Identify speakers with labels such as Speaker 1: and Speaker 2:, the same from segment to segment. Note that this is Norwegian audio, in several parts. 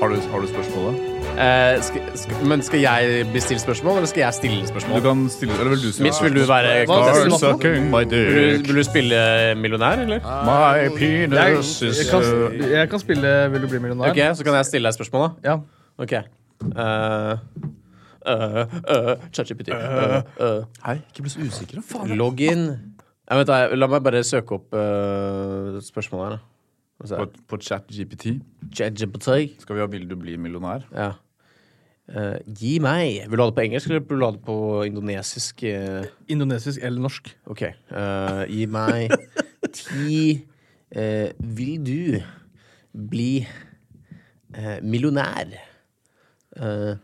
Speaker 1: Har du, har du spørsmålet?
Speaker 2: Eh, skal, skal, men skal jeg bestille spørsmål, eller skal jeg stille spørsmål?
Speaker 1: Du kan stille Eller vil du si
Speaker 2: Mitch, vil du være
Speaker 1: Hva er
Speaker 2: contestant?
Speaker 1: sucking my
Speaker 2: Vil,
Speaker 1: dick.
Speaker 2: du- vil du spille millionær, eller?
Speaker 1: My penis
Speaker 3: Jeg,
Speaker 1: is
Speaker 3: jeg, kan,
Speaker 1: uh,
Speaker 3: jeg kan spille Vil du bli millionær?
Speaker 2: eh, Ok, Så kan jeg stille deg et spørsmål, da?
Speaker 3: Ja.
Speaker 2: Ok. Eh, eh, eh, ChatGPT. Eh, eh,
Speaker 1: Hei, ikke bli så usikker, da. Faen.
Speaker 2: Logg inn. Jeg vet, da, jeg- la meg bare søke opp eh, spørsmålet her. da. Hva sa
Speaker 1: På,
Speaker 2: jeg?
Speaker 1: på ChatGPT
Speaker 2: ChatGPT.
Speaker 1: skal vi ha 'Vil du bli millionær'?
Speaker 2: Ja. Eh, gi meg. Vil du ha det på engelsk eller vil du ha det på indonesisk? eh?
Speaker 3: Indonesisk eller norsk?
Speaker 2: Ok. Eh, gi meg ti eh, Vil du bli eh, millionær? Eh,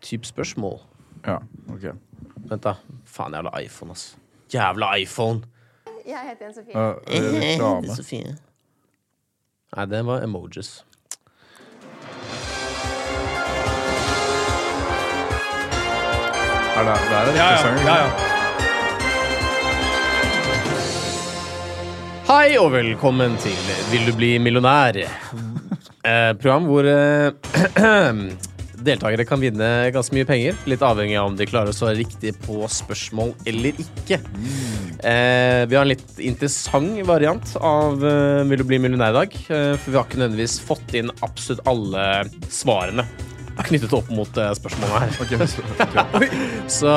Speaker 2: typ spørsmål.
Speaker 1: Ja, ok. Eh,
Speaker 2: Vent, da. Faen, jævla iPhone, ass. Jævla iPhone!
Speaker 4: Jeg heter Jens Sofie.
Speaker 1: Uh, reklame.
Speaker 2: Sofie. Nei, det var emojis.
Speaker 1: Er det, det er en ekte sang? ikke sant?
Speaker 2: Hei og velkommen til Vil du bli millionær? Eh, program hvor eh, deltakere kan vinne ganske mye penger. Litt avhengig av om de klarer å svare riktig på spørsmål eller ikke. Eh, vi har en litt interessant variant av eh, Vil du bli millionær i dag. Eh, for vi har ikke nødvendigvis fått inn absolutt alle svarene knyttet opp mot eh, spørsmålet her.
Speaker 1: Ok, men så- ok.
Speaker 2: Så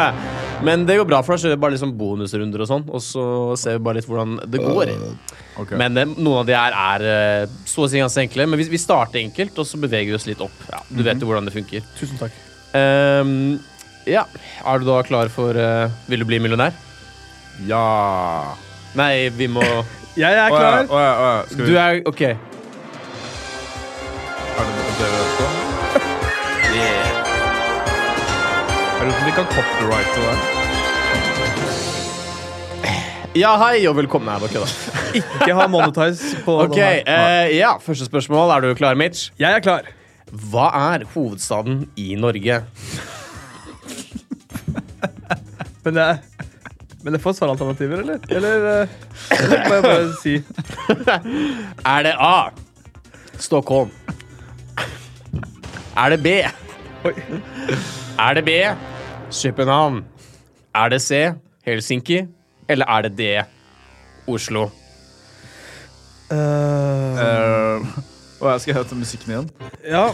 Speaker 2: Men det går bra for deg, så gjør vi bare liksom bonusrunder og sånn. Og så ser vi bare litt hvordan det går.
Speaker 1: Ok.
Speaker 2: Men eh, noen av de her er eh, så å si ganske enkle. Men vi, vi starter enkelt, og så beveger vi oss litt opp. Ja, du
Speaker 3: Mhm.
Speaker 2: vet jo hvordan det funker.
Speaker 3: Tusen takk.
Speaker 2: Ehm, ja. Er du da klar for eh, Vil du bli millionær?
Speaker 1: Ja
Speaker 2: Nei, vi må
Speaker 3: Jeg er
Speaker 1: Å ja,
Speaker 3: klar.
Speaker 1: å ja, å ja. Skal vi
Speaker 2: Du er OK.
Speaker 1: Er det noe dere hører på? Jeg lurer på om de kan copyrighte det.
Speaker 2: Ja, hei og velkommen. Nei, bare kødda.
Speaker 3: Ikke ha monetize på
Speaker 2: OK.
Speaker 3: den her.
Speaker 2: eh, ja, første spørsmål. Er du klar, Mitch?
Speaker 3: Jeg er klar.
Speaker 2: Hva er hovedstaden i Norge?
Speaker 3: Men jeg, men jeg får svaralternativer, eller? Eller eh, eller må jeg bare si
Speaker 2: Er det A. Stockholm? Er det B?
Speaker 3: Oi.
Speaker 2: Er det B. København? Er det C. Helsinki? Eller er det D. Oslo?
Speaker 3: Eh,
Speaker 1: Uh, å ja, skal jeg høre til musikken igjen?
Speaker 3: ja.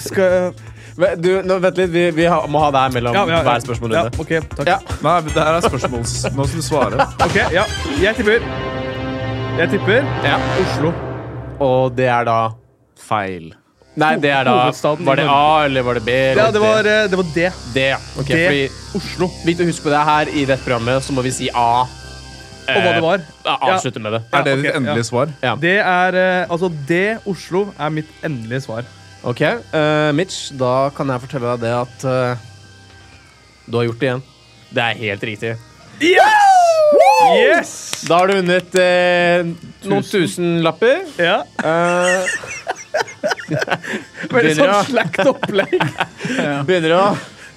Speaker 3: Skal jeg
Speaker 2: Du, nå, vent litt. Vi, vi ha- må ha det her mellom
Speaker 3: ja, ja, ja.
Speaker 2: hver spørsmålrunde.
Speaker 3: Ja, ok, takk.
Speaker 2: Ja.
Speaker 1: Nei, men det her er spørsmåls... Nå skal du svare.
Speaker 3: Ok, ja. Jeg tipper. Jeg tipper
Speaker 2: Ja.
Speaker 3: Oslo.
Speaker 2: Og det er da
Speaker 1: Feil.
Speaker 2: Nei, det er da
Speaker 3: Hovedstaden i
Speaker 2: Var det A, eller var det B? Eller
Speaker 3: Ja, det var,
Speaker 2: D?
Speaker 3: eh, det var det.
Speaker 2: D. Ok,
Speaker 3: D.
Speaker 2: fordi
Speaker 3: Oslo.
Speaker 2: Viktig å huske på det her i dette programmet, så må vi si A.
Speaker 3: Og
Speaker 2: Eh,
Speaker 3: hva det var.
Speaker 2: Avslutte med det.
Speaker 1: Er det
Speaker 3: ok,
Speaker 1: ditt endelige svar?
Speaker 2: Ja.
Speaker 3: Det er eh, Altså, det Oslo er mitt endelige svar.
Speaker 2: Ok, eh, Mitch, da kan jeg fortelle deg det at eh, du har gjort det igjen. Det er helt riktig.
Speaker 3: Yes!
Speaker 2: Da har du vunnet eh, noen tusenlapper.
Speaker 3: Ja.
Speaker 2: Eh,
Speaker 3: Veldig
Speaker 2: Begynner
Speaker 3: sånn
Speaker 2: å-
Speaker 3: slakt opplegg.
Speaker 2: begynner, å,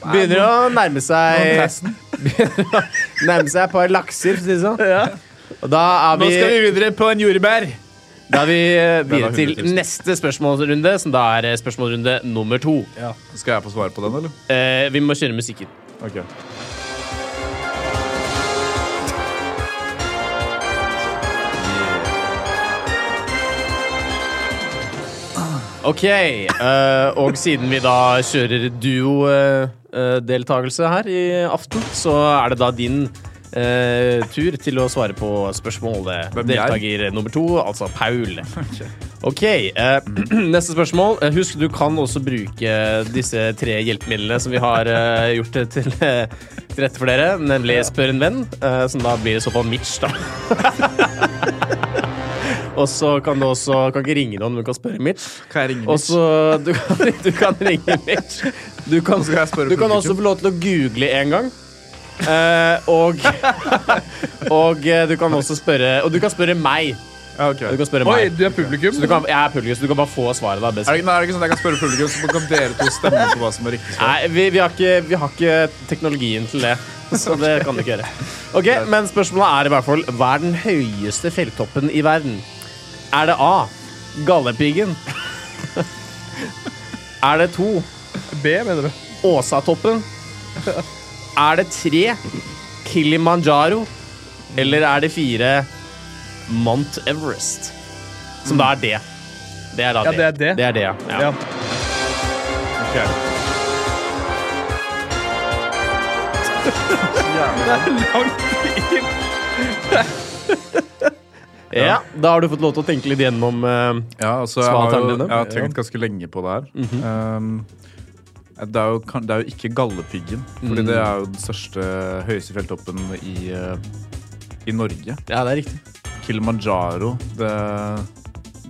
Speaker 2: begynner å nærme seg
Speaker 1: Testen.
Speaker 2: Nærme seg et par lakser, for å si det sånn.
Speaker 3: Ja.
Speaker 2: Og da er vi,
Speaker 1: videre på en jordbær.
Speaker 2: da er vi eh, videre
Speaker 1: var
Speaker 2: til
Speaker 1: 100 000.
Speaker 2: neste spørsmålsrunde, som da er eh, spørsmålsrunde nummer to.
Speaker 1: Skal jeg få svare på den, eller?
Speaker 2: Eh, vi må kjøre musikken.
Speaker 1: Ok.
Speaker 2: Ok, eh, og siden vi da kjører duo-deltakelse her i aften, så er det da din eh, tur til å svare på spørsmålet.
Speaker 1: Hvem jeg?
Speaker 2: Deltaker nummer to, altså Paul. Ok, eh, neste spørsmål. Eh, Husk, du kan også bruke disse tre hjelpemidlene som vi har eh, gjort til, eh, til rette for dere, nemlig Spør en venn, eh, som da blir i så fall Mitch, da. Og så kan du også Kan ikke ringe noen, men du kan spørre Mitch.
Speaker 1: Kan jeg ringe
Speaker 2: Og så du, kan- du kan ringe Mitch. Du kan,
Speaker 1: Og så kan jeg spørre
Speaker 2: du kan
Speaker 1: publikum.
Speaker 2: også få lov til å google en gang. Eh, og og eh, du kan også spørre Og du kan spørre meg.
Speaker 1: Ja, ok.
Speaker 2: Du kan spørre
Speaker 3: Oi,
Speaker 2: meg.
Speaker 3: du er publikum?
Speaker 2: Du kan, jeg er publikum, så du kan bare få svaret. da best.
Speaker 1: Er det, nei, er det ikke sånn at jeg kan spørre publikum, så kan dere to stemme på hva som er riktig svar?
Speaker 2: Nei, vi, vi, har ikke, vi har ikke teknologien til det. Så det kan du ikke gjøre. Ok, Men spørsmålet er i hvert fall hva er den høyeste fjelltoppen i verden? Er det A. Galdhøpiggen? Er det to
Speaker 3: B, mener du?
Speaker 2: Åsatoppen? Er det tre Kilimanjaro? Eller er det fire Mount Everest? Som da er det. Det er da
Speaker 3: Ja, det er det.
Speaker 2: Det er det, ja. ja.
Speaker 3: Ja.
Speaker 2: Ja, Da har du fått lov til å tenke litt gjennom eh,
Speaker 1: Ja, altså, jeg har, jo,
Speaker 2: Svaralternene.
Speaker 1: jeg har tenkt ganske lenge på det her. um, det, er jo, kan- det er jo ikke Galdhøpiggen, fordi det er jo den største høyeste fjelltoppen i, eh, i Norge.
Speaker 2: Ja, det er riktig.
Speaker 1: Kilimanjaro det,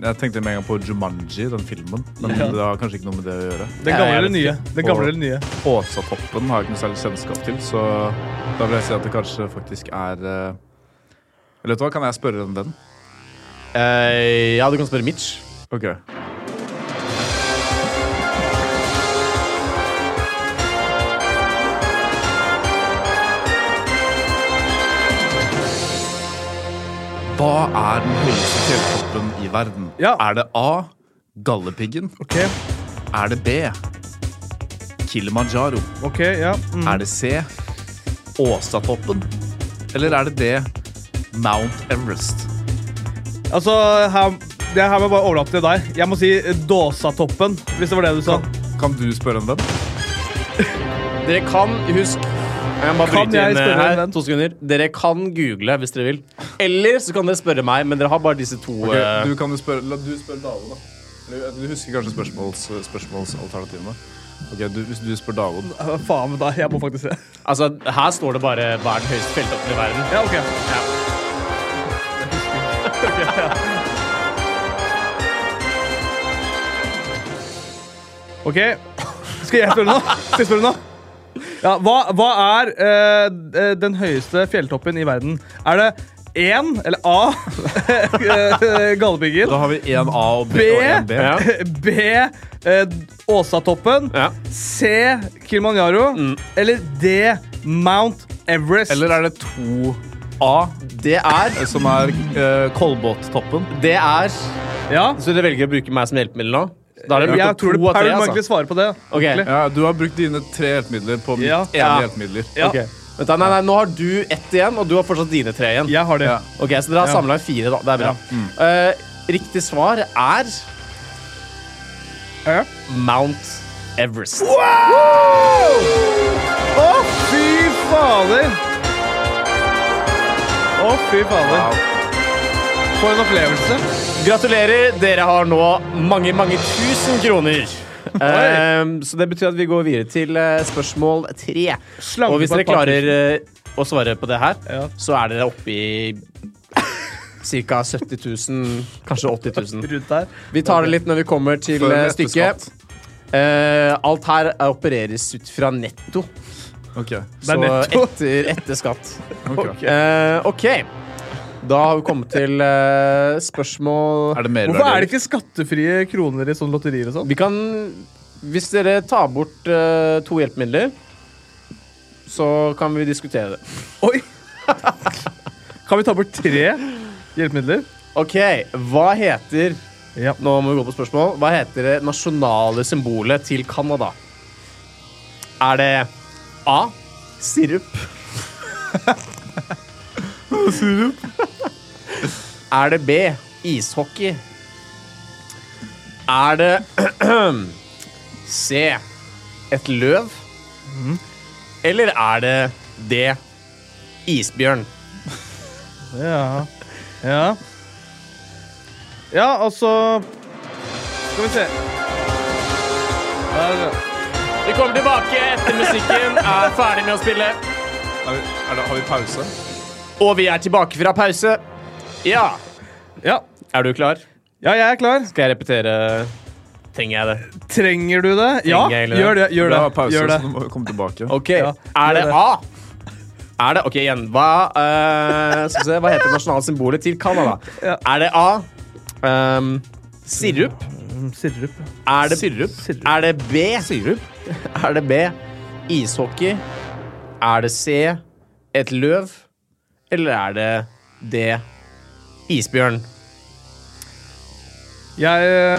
Speaker 1: Jeg tenkte med en gang på Jumanji, den filmen. Men det har kanskje ikke noe med det å gjøre.
Speaker 3: Den
Speaker 2: Ja,
Speaker 3: gamle
Speaker 2: jeg
Speaker 3: eller
Speaker 2: vet
Speaker 3: nye? Den gamle eller nye?
Speaker 1: Åsatoppen har jeg ikke noe særlig kjennskap til, så da vil jeg si at det kanskje faktisk er eh, Eller vet du hva, kan jeg spørre om den?
Speaker 2: Eh, ja, du kan spørre Mitch.
Speaker 1: Ok. Hva er den høyeste fjelltoppen i verden?
Speaker 3: Ja.
Speaker 1: Er det A. Galdhøpiggen?
Speaker 3: OK,
Speaker 1: Er det B. Kilimanjaro?
Speaker 3: ok, ja. Mm.
Speaker 1: Er det C. Åsatoppen? Eller er det D. Mount Everest?
Speaker 3: Altså, her, det her må jeg bare overlate til deg. Jeg må si eh, Dåsatoppen, hvis det var det du sa.
Speaker 1: Kan du spørre om den?
Speaker 2: Dere kan husk Jeg må bare
Speaker 3: Kan
Speaker 2: bryte
Speaker 3: jeg
Speaker 2: inn eh,
Speaker 3: spørre en
Speaker 2: her.
Speaker 3: venn?
Speaker 2: To sekunder. Dere kan google hvis dere vil. Eller så kan dere spørre meg, men dere har bare disse to.
Speaker 1: Ok,
Speaker 2: eh,
Speaker 1: du kan jo spørre, la du spørre David, da. Eller, eh, Du husker kanskje spørsmåls, eh, spørsmålsalternativene? Ok, du, Hvis du spør David
Speaker 3: Hva Faen med deg, jeg må faktisk se.
Speaker 2: Altså, Her står det bare hva er den høyeste fjelltoppen i verden.
Speaker 3: Ja, ok. Ok, skal jeg spørre nå? Skal jeg spørre nå? Ja, hva, hva er eh, d- den høyeste fjelltoppen i verden? Er det én, eller A, eh, Galdhøpiggen?
Speaker 1: Da har vi én A og B,
Speaker 3: B,
Speaker 1: og én B.
Speaker 2: Ja.
Speaker 3: B eh, Åsatoppen?
Speaker 2: Ja.
Speaker 3: C, Kilimanjaro? Eller D, Mount Everest?
Speaker 1: Mm. Eller er det to A,
Speaker 2: Det er
Speaker 1: som er eh, Kolbottoppen?
Speaker 2: Det er
Speaker 3: ja?
Speaker 2: Så dere velger å bruke meg som hjelpemiddel nå? Da har dere brukt
Speaker 3: Jeg
Speaker 2: opp
Speaker 3: tror det
Speaker 2: to av
Speaker 3: Paul
Speaker 2: tre,
Speaker 3: må egentlig
Speaker 2: altså.
Speaker 3: svare på det.
Speaker 2: Ok.
Speaker 3: ordentlig.
Speaker 1: Ja, du har brukt dine tre hjelpemidler på mitt
Speaker 3: Ja.
Speaker 1: ene
Speaker 2: Ja.
Speaker 1: hjelpemidler.
Speaker 3: Ja.
Speaker 2: Ok. Vent da, nei, nei, nå har du ett igjen, og du har fortsatt dine tre igjen.
Speaker 3: Jeg har det.
Speaker 1: Ja.
Speaker 2: Ok, Så dere har samla fire, da. Det er bra.
Speaker 3: Ja.
Speaker 2: Eh, riktig svar er
Speaker 3: Ja.
Speaker 2: Mount Everest.
Speaker 3: Å, fy fader! Å, fy fader. For en opplevelse.
Speaker 2: Gratulerer, dere har nå mange, mange tusen kroner. Eh, så det betyr at vi går videre til eh, spørsmål tre.
Speaker 3: Slanke
Speaker 2: Og hvis
Speaker 3: på
Speaker 2: dere
Speaker 3: et par tusen.
Speaker 2: klarer eh, å svare på det her,
Speaker 3: Ja.
Speaker 2: så er dere oppe i ca. 70 000, kanskje 80 000.
Speaker 3: Rundt der.
Speaker 2: Vi tar det litt når vi kommer til
Speaker 1: Før
Speaker 2: eh,
Speaker 1: etter
Speaker 2: stykket. Eh, alt her er- opereres ut fra netto,
Speaker 1: Ok,
Speaker 3: Det
Speaker 2: så
Speaker 3: er netto.
Speaker 2: etter, etter skatt.
Speaker 1: ok.
Speaker 2: Eh, OK. Da har vi kommet til eh, spørsmål
Speaker 1: Er det
Speaker 3: Hvorfor er
Speaker 1: merverdi?
Speaker 3: det ikke skattefrie kroner i sånne lotterier og sånn?
Speaker 2: Vi kan Hvis dere tar bort eh, to hjelpemidler, så kan vi diskutere det.
Speaker 3: Oi! Kan vi ta bort tre hjelpemidler?
Speaker 2: OK, hva heter
Speaker 3: Ja.
Speaker 2: Nå må vi gå på spørsmål. Hva heter det nasjonale symbolet til Canada? Er det A. Sirup.
Speaker 1: Sirup.
Speaker 2: Er det B. Ishockey? Er det C. Et løv? Eller er det D. Isbjørn?
Speaker 3: Ja. Ja, ja altså Skal vi se. Der, ja.
Speaker 2: Vi kommer tilbake etter musikken er ferdig med å spille.
Speaker 1: Er vi, er det, har vi pause?
Speaker 2: Og vi er tilbake fra pause. Ja.
Speaker 3: Ja.
Speaker 2: Er du klar?
Speaker 3: ja, jeg er klar.
Speaker 2: Skal jeg repetere? Trenger jeg det?
Speaker 3: Trenger du det? Ja,
Speaker 2: jeg egentlig det?
Speaker 3: gjør det. Gjør
Speaker 1: Vi
Speaker 3: det.
Speaker 1: har pause,
Speaker 3: Gjør det.
Speaker 1: så du må komme tilbake.
Speaker 2: Ok.
Speaker 3: Ja,
Speaker 2: er det
Speaker 3: gjør det.
Speaker 2: A? Er det OK, igjen. Hva, eh, skal vi se, hva heter det nasjonale symbolet til Canada?
Speaker 3: Ja.
Speaker 2: Er det A ehm, sirup?
Speaker 3: Sirup.
Speaker 2: Er det sirup?
Speaker 3: Sirup.
Speaker 2: Er det B? Er det B ishockey? Er det C et løv? Eller er det D isbjørn?
Speaker 3: Jeg eh,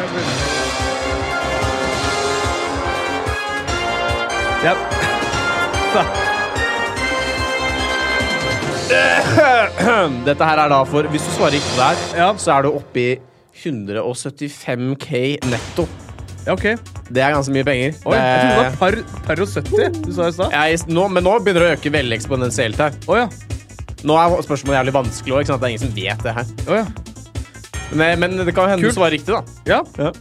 Speaker 3: Ja. Så.
Speaker 2: Dette her er da for Hvis du svarer ikke der,
Speaker 3: Ja.
Speaker 2: så er du oppe i 175K netto.
Speaker 3: Ja, OK.
Speaker 2: Det er ganske mye penger.
Speaker 3: Oi, jeg trodde det var
Speaker 2: det,
Speaker 3: par, par og 70 du sa i stad.
Speaker 2: jeg, nå, men nå begynner det å øke veldig eksponentielt her.
Speaker 3: Å ja.
Speaker 2: Nå er spørsmålet jævlig vanskelig òg. Det er ingen som vet det her.
Speaker 3: Å ja.
Speaker 2: Men, eh, men det kan jo hende
Speaker 3: Kult.
Speaker 2: du svarer riktig, da.
Speaker 3: ja.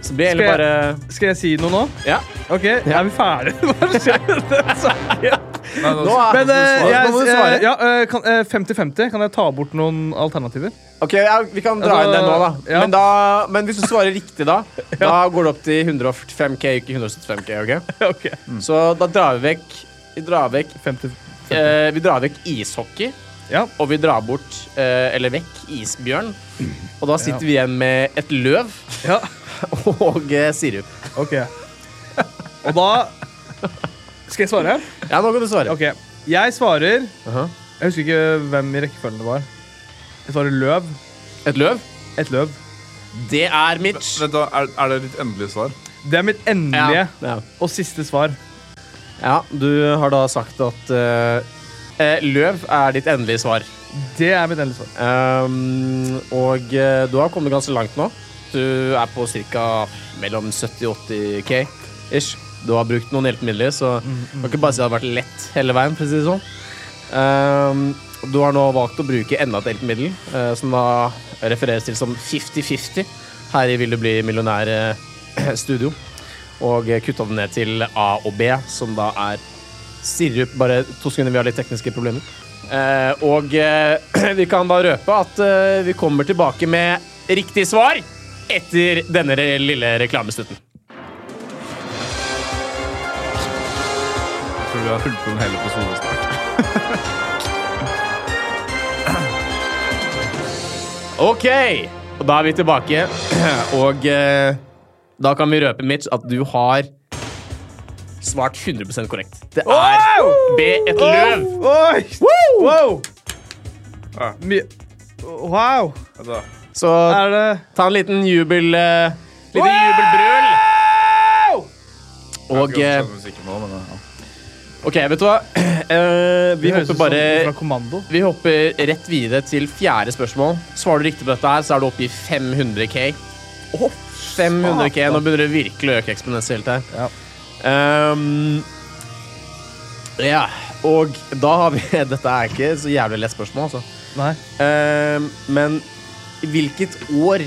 Speaker 2: Så blir det egentlig
Speaker 3: Skal
Speaker 2: bare
Speaker 3: Skal jeg si noe nå?
Speaker 2: Ja.
Speaker 3: OK, er vi ferdige? Hva skjer?
Speaker 1: Nei, nå-
Speaker 2: Nå er-
Speaker 3: Men eh,
Speaker 2: Nå
Speaker 3: jeg,
Speaker 2: må du
Speaker 3: eh,
Speaker 2: svare.
Speaker 3: ja, eh, kan- eh, 50-50. Kan jeg ta bort noen alternativer?
Speaker 2: Ok, ja, Vi kan dra
Speaker 3: Altså,
Speaker 2: inn den nå, da.
Speaker 3: ja.
Speaker 2: Men, da. men hvis du svarer riktig, da, da går det opp til 145K, ikke 175K. ok?
Speaker 3: OK.
Speaker 2: Så da drar vi vekk Vi drar vekk,
Speaker 3: 50.
Speaker 2: eh, vi drar vekk ishockey,
Speaker 3: Ja.
Speaker 2: og vi drar bort, eh, eller vekk, isbjørn. Og da sitter vi igjen med et løv
Speaker 3: ja.
Speaker 2: og eh, sirup.
Speaker 3: OK. Og da Skal jeg svare?
Speaker 2: Ja, nå kan du svare.
Speaker 3: OK. Jeg svarer
Speaker 2: Aha.
Speaker 3: Jeg husker ikke hvem i rekkefølgen det var. Jeg svarer løv.
Speaker 2: Et løv?
Speaker 3: Et løv.
Speaker 2: Det er Mitch.
Speaker 1: Vent da, er, er det ditt endelige svar?
Speaker 3: Det er mitt endelige
Speaker 2: Ja, ja.
Speaker 3: og siste svar.
Speaker 2: ja, du har da sagt at eh, eh, løv er ditt endelige svar.
Speaker 3: Det er mitt endelige svar.
Speaker 2: Ehm, og eh, du har kommet ganske langt nå. Du er på ca. mellom 70-80 K. Ish. Du har brukt noen hjelpemidler, så kan ikke bare si at det har vært lett hele veien. for å si det sånn. Ehm, du har nå valgt å bruke enda et hjelpemiddel, eh, som da refereres til som 50-50 her i Vil du bli millionær-studio. Og eh, kutta det ned til A og B, som da er sirup. Bare to sekunder, vi har litt tekniske problemer. Eh, og eh, vi kan da røpe at eh, vi kommer tilbake med riktig svar etter denne re- lille reklamesnutten.
Speaker 1: Jeg tror vi har fulgt på den hele episoden snart.
Speaker 2: Ok, og da er vi tilbake. og eh, da kan vi røpe, Mitch, at du har svart 100 korrekt. Det er B, et løv.
Speaker 3: Oi! Wow!
Speaker 1: Ja.
Speaker 3: Mi- Wow!
Speaker 1: Altså,
Speaker 2: Så
Speaker 3: Er det
Speaker 2: ta en liten jubel... Eh, liten jubelbrøl.
Speaker 1: jeg
Speaker 2: Og eh,
Speaker 1: skjønner musikken nå, men ja.
Speaker 2: OK, vet du hva? Eh, vi
Speaker 3: høres ut
Speaker 2: hopper
Speaker 3: som
Speaker 2: bare
Speaker 3: fra Kommando.
Speaker 2: Vi hopper rett videre til fjerde spørsmål. Svarer du riktig på dette, her, så er du oppe i 500K. 500K, Nå begynner det virkelig å øke eksponentielt her.
Speaker 3: Ja.
Speaker 2: Ehm, ja, og da har vi Dette er ikke så jævlig lett spørsmål, altså.
Speaker 3: Nei.
Speaker 2: Ehm, men hvilket år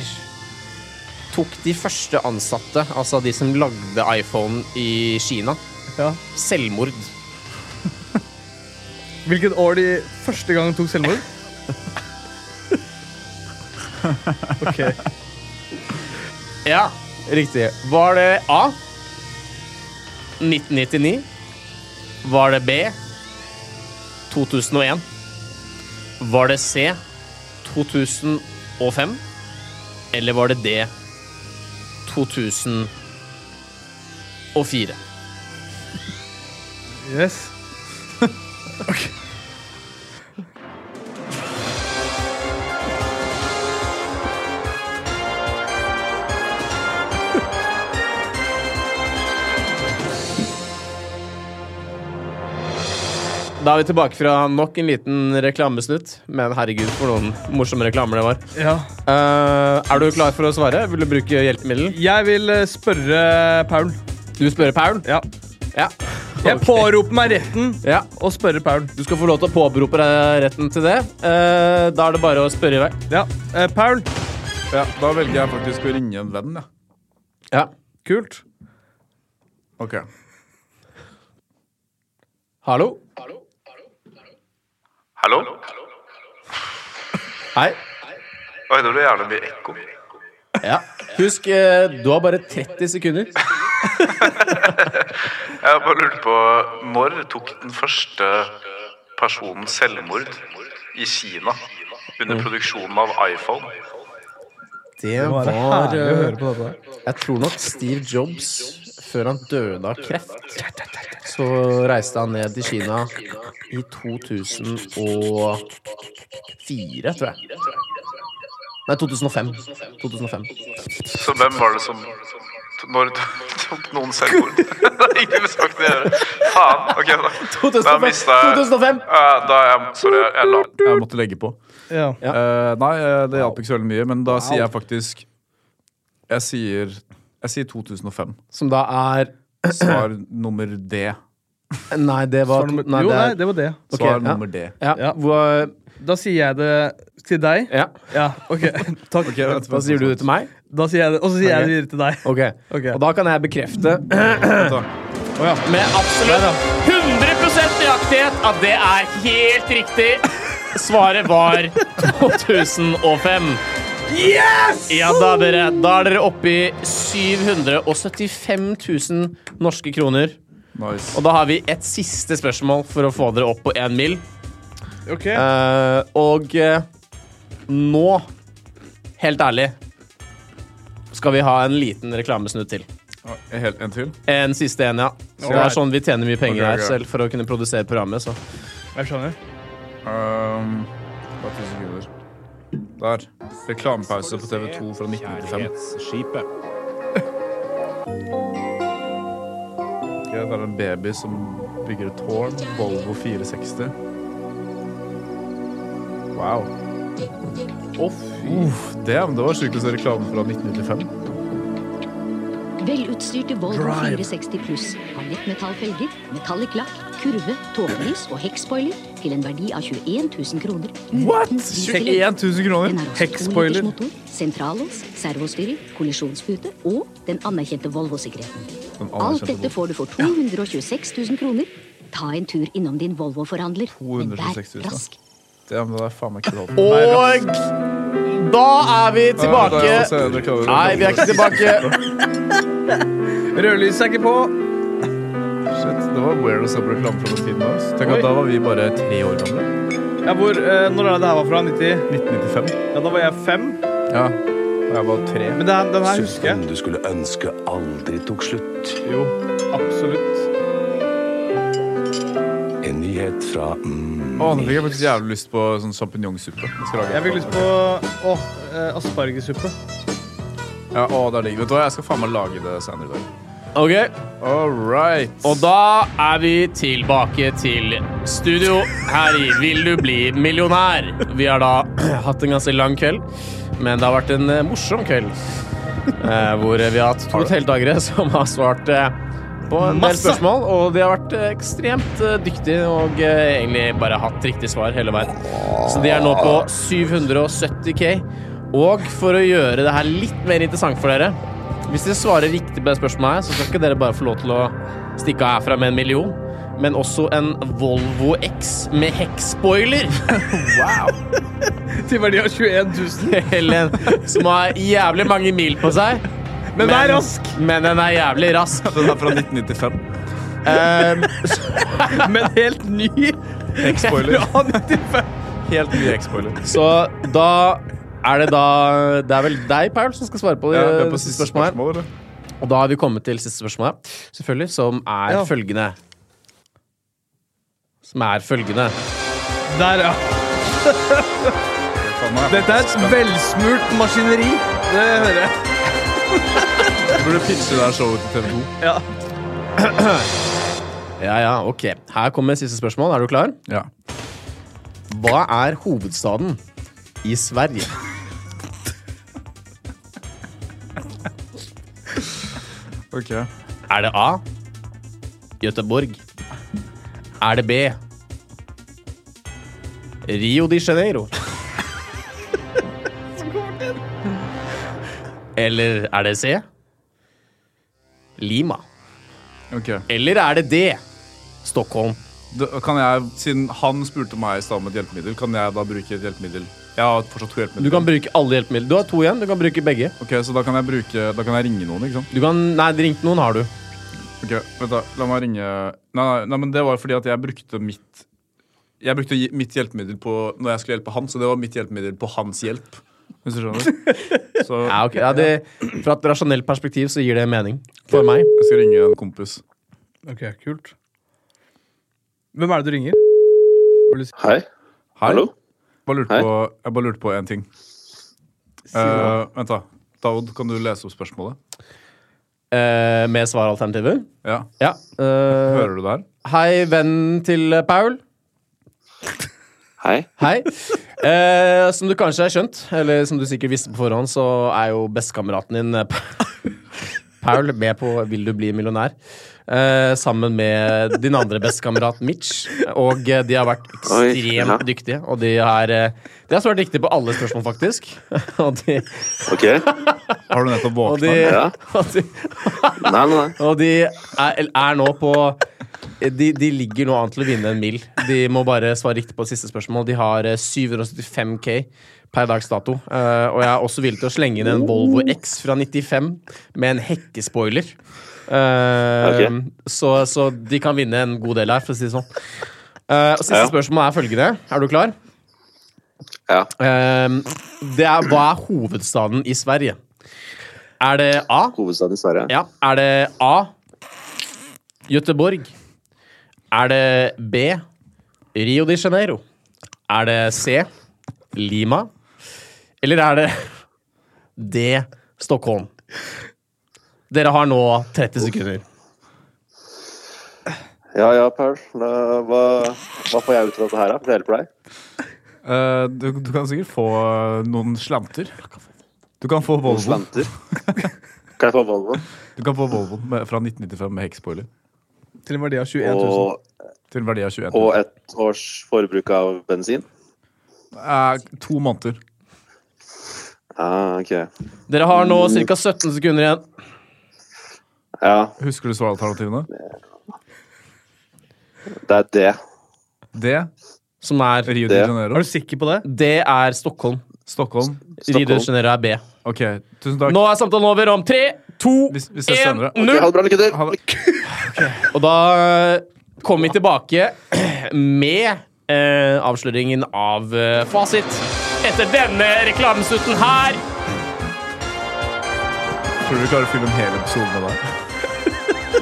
Speaker 2: tok de første ansatte, altså de som lagde iPhone i Kina,
Speaker 3: Ja.
Speaker 2: selvmord?
Speaker 3: Hvilket år de første gang tok selvmord? OK.
Speaker 2: Ja, riktig. Var det A 1999? Var det B 2001? Var det C 2005? Eller var det D 2004?
Speaker 3: Yes.
Speaker 2: Da er vi tilbake fra nok en liten reklamesnutt. Men herregud, for noen morsomme reklamer det var.
Speaker 3: Ja.
Speaker 2: Eh, er du klar for å svare? Vil du bruke hjelpemiddel?
Speaker 3: Jeg vil eh, spørre Paul.
Speaker 2: Du spørre Paul?
Speaker 3: Ja.
Speaker 2: Ja.
Speaker 3: Jeg påroper meg retten
Speaker 2: ja.
Speaker 3: å spørre Paul.
Speaker 2: Du skal få lov til å påberope deg retten til det. Eh, da er det bare å spørre i vei.
Speaker 3: Ja. Eh, Paul,
Speaker 1: ja, Da velger jeg faktisk å ringe en venn, jeg.
Speaker 2: Ja.
Speaker 3: kult.
Speaker 1: Ok.
Speaker 2: Hallo?
Speaker 4: Hallo?
Speaker 2: Hei.
Speaker 4: Oi, det ble jævlig mye ekko.
Speaker 2: Ja. Husk, eh, du har bare 30 sekunder.
Speaker 4: Jeg bare lurte på, når tok den første personen selvmord i Kina
Speaker 1: Mm.
Speaker 4: under produksjonen av iPhone?
Speaker 2: Det
Speaker 3: Var det
Speaker 2: var
Speaker 3: herlig å høre
Speaker 2: eh,
Speaker 3: på dette?
Speaker 2: Jeg tror nok Steve Jobs, før han døde av kreft, så reiste han ned til Kina i 2004, tror jeg. Nei, 2005. 2005.
Speaker 4: Så hvem var det som... Når, tok noen selvmord. det har ingen sagt det å gjøre. Faen. Ok, da. Da
Speaker 2: 2005.
Speaker 4: mista jeg
Speaker 2: 2005.
Speaker 4: Ja, Da er jeg Sorry, jeg- jeg la
Speaker 1: Jeg måtte legge på.
Speaker 3: Ja.
Speaker 2: Ja.
Speaker 1: Eh, nei, eh, det hjalp ikke så veldig mye, men da sier jeg faktisk Jeg sier, jeg sier 2005.
Speaker 2: Som da er
Speaker 1: Svar nummer D.
Speaker 2: Nei, det var
Speaker 3: Svar nummer-
Speaker 2: nei,
Speaker 3: jo,
Speaker 2: det
Speaker 3: nei,
Speaker 2: er,
Speaker 3: det var det.
Speaker 2: Ok,
Speaker 1: Svar
Speaker 2: ja.
Speaker 1: nummer D.
Speaker 2: ja.
Speaker 3: Ja.
Speaker 2: Hvor,
Speaker 3: Da sier jeg det til deg.
Speaker 2: ja.
Speaker 3: Ja, ok. Takk.
Speaker 1: Ok, vent,
Speaker 2: Da
Speaker 1: vent,
Speaker 2: sier du det
Speaker 1: vent,
Speaker 2: til meg?
Speaker 3: Da sier jeg det, og så sier
Speaker 2: Ok.
Speaker 3: jeg det videre til deg.
Speaker 2: Ok.
Speaker 3: Ok.
Speaker 2: Og da kan jeg bekrefte
Speaker 1: vent, da.
Speaker 2: med absolutt 100 nøyaktighet at det er helt riktig. Svaret var 2005.
Speaker 3: Yes!
Speaker 2: Ja da, dere. Da er dere oppe i 775 000 norske kroner.
Speaker 1: Nice.
Speaker 2: Og da har vi et siste spørsmål for å få dere opp på én mil.
Speaker 3: Ok.
Speaker 2: Eh, og eh, nå, helt ærlig, skal vi ha en liten reklamesnutt til.
Speaker 1: En hel- En til?
Speaker 2: En siste en, ja. Så det er
Speaker 3: Alright.
Speaker 2: sånn vi tjener mye penger
Speaker 1: Ok, ok.
Speaker 2: her selv for å kunne produsere programmet. Så.
Speaker 3: Jeg skjønner.
Speaker 1: Um, bare ti sekunder. Der. Reklamepause på TV2 fra 1995. Ok, der er en baby som bygger et tårn. Volvo 460. Wow. Uff, det, det var sjukt å se reklame fra 1995.
Speaker 5: Velutstyrte Volvo 460 pluss har lettmetallfelger, metallic lakk, kurve, tåkelys og hekkspoiler til en verdi av 21 000 kroner. uten
Speaker 1: What?!
Speaker 5: diesel.
Speaker 1: 21 000
Speaker 5: Den
Speaker 1: kroner!
Speaker 5: har også
Speaker 3: Hekkspoiler.
Speaker 5: 2-liters motor, sentrallås, servostyring, kollisjonspute og den anerkjente Volvo-sikkerheten.
Speaker 1: Den
Speaker 5: Alt
Speaker 1: anerkjente
Speaker 5: dette får du for 226 000 kroner. Ta en tur innom din Volvo-forhandler, men vær
Speaker 1: 226 000, da.
Speaker 5: rask.
Speaker 1: Det, men det er faen meg ikke lov.
Speaker 2: Og da er vi
Speaker 1: Ja, det er også
Speaker 2: tilbake.
Speaker 1: en reklame.
Speaker 2: Nei, vi er ikke tilbake.
Speaker 3: Rødlyset er ikke på.
Speaker 1: Shit, det var weird å se på reklame fra den tiden. Altså. Tenk
Speaker 3: Oi.
Speaker 1: at da var vi bare tre år gamle.
Speaker 3: Ja, hvor, eh, når er det det her var fra? 90?
Speaker 1: 1995.
Speaker 3: Ja, da var jeg fem.
Speaker 1: Ja. Og jeg var tre.
Speaker 3: Men den, den her
Speaker 6: Syns
Speaker 3: husker jeg.
Speaker 6: den du skulle ønske aldri tok slutt.
Speaker 3: Jo, absolutt.
Speaker 6: En nyhet fra mm,
Speaker 1: Å, nå fikk jeg faktisk jævlig lyst på sånn sjampinjongsuppe. Jeg skal lage
Speaker 3: Jeg fikk
Speaker 1: etterpå.
Speaker 3: lyst på å, eh, aspargesuppe.
Speaker 1: Ja, å, det er digg. Vet du hva, jeg skal faen meg lage det senere i dag.
Speaker 2: Ok,
Speaker 1: All right.
Speaker 2: Og da er vi tilbake til studio her i Vil du bli millionær? Vi har da hatt en ganske lang kveld, men det har vært en eh, morsom kveld. Eh, hvor vi har hatt to deltakere som har svart eh, på en del
Speaker 3: Masse.
Speaker 2: spørsmål. Og de har vært eh, ekstremt eh, dyktige og eh, egentlig bare hatt riktig svar hele veien. Så de er nå på 770K. Og for å gjøre det her litt mer interessant for dere Hvis dere svarer riktig på det spørsmålet her, så skal ikke dere bare få lov til å stikke av herfra med en million, men også en Volvo X med hekkspoiler.
Speaker 3: Til verdi av 21 000.
Speaker 2: Eller en som har jævlig mange mil på seg.
Speaker 3: Men vær rask!
Speaker 2: Men den er jævlig rask.
Speaker 1: Den er fra 1995.
Speaker 2: Um,
Speaker 3: Men helt ny
Speaker 1: Spoiler.
Speaker 3: fra 95.
Speaker 1: Helt ny X-spoiler.
Speaker 2: så da er det da Det er vel deg, Paul, som skal svare på det,
Speaker 1: Ja, vi er på
Speaker 2: siste
Speaker 1: Eh, siste
Speaker 2: spørsmålet.
Speaker 1: spørsmål, eller?
Speaker 2: her. Og da har vi kommet til siste spørsmål, her, selvfølgelig, som er
Speaker 3: Ja.
Speaker 2: følgende. Som er følgende.
Speaker 3: Der, ja.
Speaker 1: Faen, jeg
Speaker 3: Dette er et velsmurt maskineri. Det hører jeg.
Speaker 1: burde pitche det her showet til TV 2.
Speaker 3: Ja.
Speaker 2: Ja, ja, ok. Her kommer siste spørsmål. Er du klar?
Speaker 1: Ja.
Speaker 2: Hva er hovedstaden i Sverige?
Speaker 1: Ok.
Speaker 2: Er det A. Göteborg? Er det B. Rio de Janeiro? Eller er det C. Lima?
Speaker 1: ok.
Speaker 2: Eller er det D. Stockholm?
Speaker 1: Da Kan jeg, siden han spurte meg i stad om et hjelpemiddel, kan jeg da bruke et hjelpemiddel? Jeg har fortsatt to
Speaker 2: Du
Speaker 1: hjelpemidler.
Speaker 2: kan bruke alle hjelpemidler. Du har to igjen. Du kan bruke begge.
Speaker 1: Ok, Så da kan jeg bruke Da kan jeg ringe noen, ikke sant?
Speaker 2: Du kan, nei, ringt noen har du.
Speaker 1: Ok, vent da, La meg ringe Nei, nei, nei men det var fordi at jeg brukte mitt Jeg brukte gi- mitt hjelpemiddel på når jeg skulle hjelpe han, så det var mitt hjelpemiddel på hans hjelp. Hvis du skjønner? Så
Speaker 2: Ja, ok. ja, det, fra et rasjonelt perspektiv så gir det mening. For meg.
Speaker 1: jeg skal ringe en kompis.
Speaker 3: Ok, kult. Hvem er det du ringer? Har du lyst-
Speaker 7: Hei.
Speaker 1: Hei.
Speaker 7: Hallo?
Speaker 1: Bare lurte
Speaker 7: Hei.
Speaker 1: På, jeg bare lurte på én ting. Eh, vent, da. Daud, kan du lese opp spørsmålet?
Speaker 2: eh, med svaralternativer.
Speaker 1: Ja.
Speaker 2: Ja. eh,
Speaker 1: Hører du det her?
Speaker 2: hei, vennen til eh, Paul.
Speaker 7: Hei.
Speaker 2: Hei. Eh, som du kanskje har skjønt, eller som du sikkert visste på forhånd, så er jo bestekameraten din eh, Pa- Paul med på Vil du bli millionær? Eh, sammen med din andre bestekamerat Mitch. Og eh, de har vært
Speaker 7: Oi,
Speaker 2: ekstremt
Speaker 7: ja.
Speaker 2: dyktige, og de har, eh, de har svart riktig på alle spørsmål, faktisk. og de,
Speaker 7: Ok.
Speaker 1: Har du nettopp
Speaker 2: og de,
Speaker 1: våkna?
Speaker 7: Ja.
Speaker 2: og de
Speaker 7: Nei, nei, nei.
Speaker 2: og de er, er nå på de, de ligger nå an til å vinne en mil. De må bare svare riktig på siste spørsmål. De har eh, 775K per dags dato. Eh, og jeg er også villig til å slenge inn en Volvo X fra 95 med en hekkespoiler. Eh,
Speaker 7: Ok.
Speaker 2: så, så de kan vinne en god del her, for å si det sånn. Eh, og siste
Speaker 7: Ja.
Speaker 2: spørsmål er følgende. Er du klar?
Speaker 7: Ja.
Speaker 2: Eh, det er hva er hovedstaden i Sverige? Er det A.
Speaker 7: Hovedstaden i Sverige.
Speaker 2: Ja, er det A Göteborg? Er det B Rio de Janeiro? Er det C Lima? Eller er det D Stockholm? Dere har nå 30 sekunder.
Speaker 7: Ja, ja, Paul. Da- Hva, hva får jeg ut av dette her, da? Det hjelper deg?
Speaker 1: Eh, du, du kan sikkert få eh, noen slanter. Du kan få Volvo.
Speaker 7: Slanter. Kan jeg få Volvo?
Speaker 1: Du kan få Volvo med, fra 1995 med hekkspoiler.
Speaker 3: Til en verdi av 21 000.
Speaker 7: Og,
Speaker 1: Til en verdi av 21
Speaker 7: og
Speaker 1: 000.
Speaker 7: et års forbruk av bensin?
Speaker 1: Eh, to måneder.
Speaker 7: Ah, ok.
Speaker 2: Dere har nå ca. 17 sekunder igjen.
Speaker 7: Ja,
Speaker 1: Husker du svaralternativene?
Speaker 7: det er det.
Speaker 1: Det,
Speaker 2: Som er
Speaker 1: Rio de
Speaker 7: Det.
Speaker 1: Janeiro,
Speaker 3: Er du sikker på det?
Speaker 2: D er Stockholm.
Speaker 1: Stockholm.
Speaker 2: Rio de
Speaker 7: Stockholm.
Speaker 2: Janeiro er B.
Speaker 1: Ok, tusen takk.
Speaker 2: Nå er samtalen over om tre, to,
Speaker 1: Vi- vi ses
Speaker 2: én,
Speaker 1: senere.
Speaker 7: Ok,
Speaker 2: null!
Speaker 7: ha det bra, lykke til!
Speaker 1: Ha det.
Speaker 2: Og da kommer vi tilbake med eh, avsløringen av eh, fasit etter denne reklamesnutten her.
Speaker 1: Tror du vi klarer å fylle en hel episode med deg?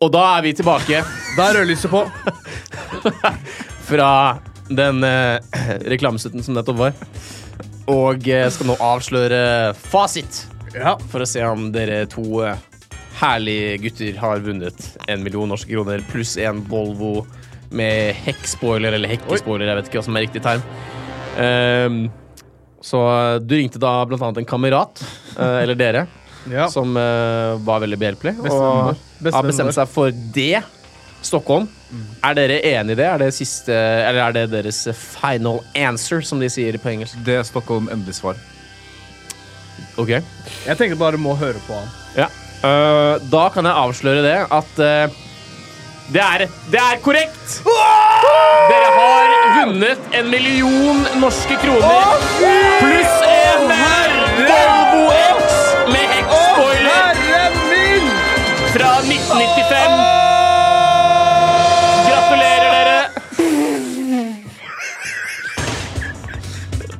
Speaker 2: Og da er vi tilbake
Speaker 3: Da er rødlyset på.
Speaker 2: fra den eh, reklamesnutten som nettopp var. Og eh, skal nå avsløre fasit
Speaker 3: Ja.
Speaker 2: for å se om dere to eh, herlige gutter har vunnet en million norske kroner pluss en Volvo med hekkspoiler, eller hekkespoiler, jeg vet ikke hva som er riktig term. Ehm, så eh, du ringte da blant annet en kamerat, eh, eller dere,
Speaker 3: ja.
Speaker 2: som eh, var veldig behjelpelig,
Speaker 3: Bestevennen vår.
Speaker 2: og har bestemt seg for det. Stockholm. Er dere enig i det? Er det siste, eller er det deres final answer, som de sier på engelsk?
Speaker 1: Det er Stockholm endelig svar.
Speaker 2: Ok.
Speaker 3: Jeg tenkte bare må høre på han.
Speaker 2: Ja. Øh, da kan jeg avsløre det at øh, det, er, det er korrekt! Dere har vunnet en million norske kroner pluss en Volvo X med hekkspoiler
Speaker 3: min!
Speaker 2: fra 1995. Gratulerer, dere.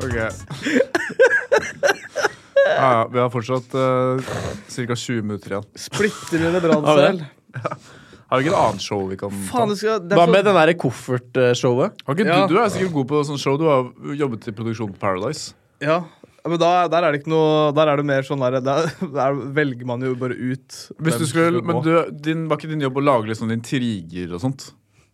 Speaker 1: Ok. Ja, ja, vi har fortsatt uh, ca. 20 minutter igjen.
Speaker 3: Splittrende
Speaker 2: Har vi
Speaker 3: brannsel.
Speaker 2: det?
Speaker 1: Har vi ikke et annet show vi kan ta?
Speaker 3: Faen, det skal det er
Speaker 2: Hva
Speaker 3: så-
Speaker 2: med den derre koffertshowet?
Speaker 1: Har ikke,
Speaker 3: Ja.
Speaker 1: du, du er sikkert god på sånn show. Du har jobbet i produksjon på Paradise.
Speaker 3: Ja. Men da, der er det ikke noe Der er det mer sånn der, der, der velger man jo bare ut
Speaker 1: Hvis
Speaker 3: hvem
Speaker 1: du
Speaker 3: som
Speaker 1: skulle,
Speaker 3: gå.
Speaker 1: men du, din, var ikke din jobb å lage liksom intriger og sånt?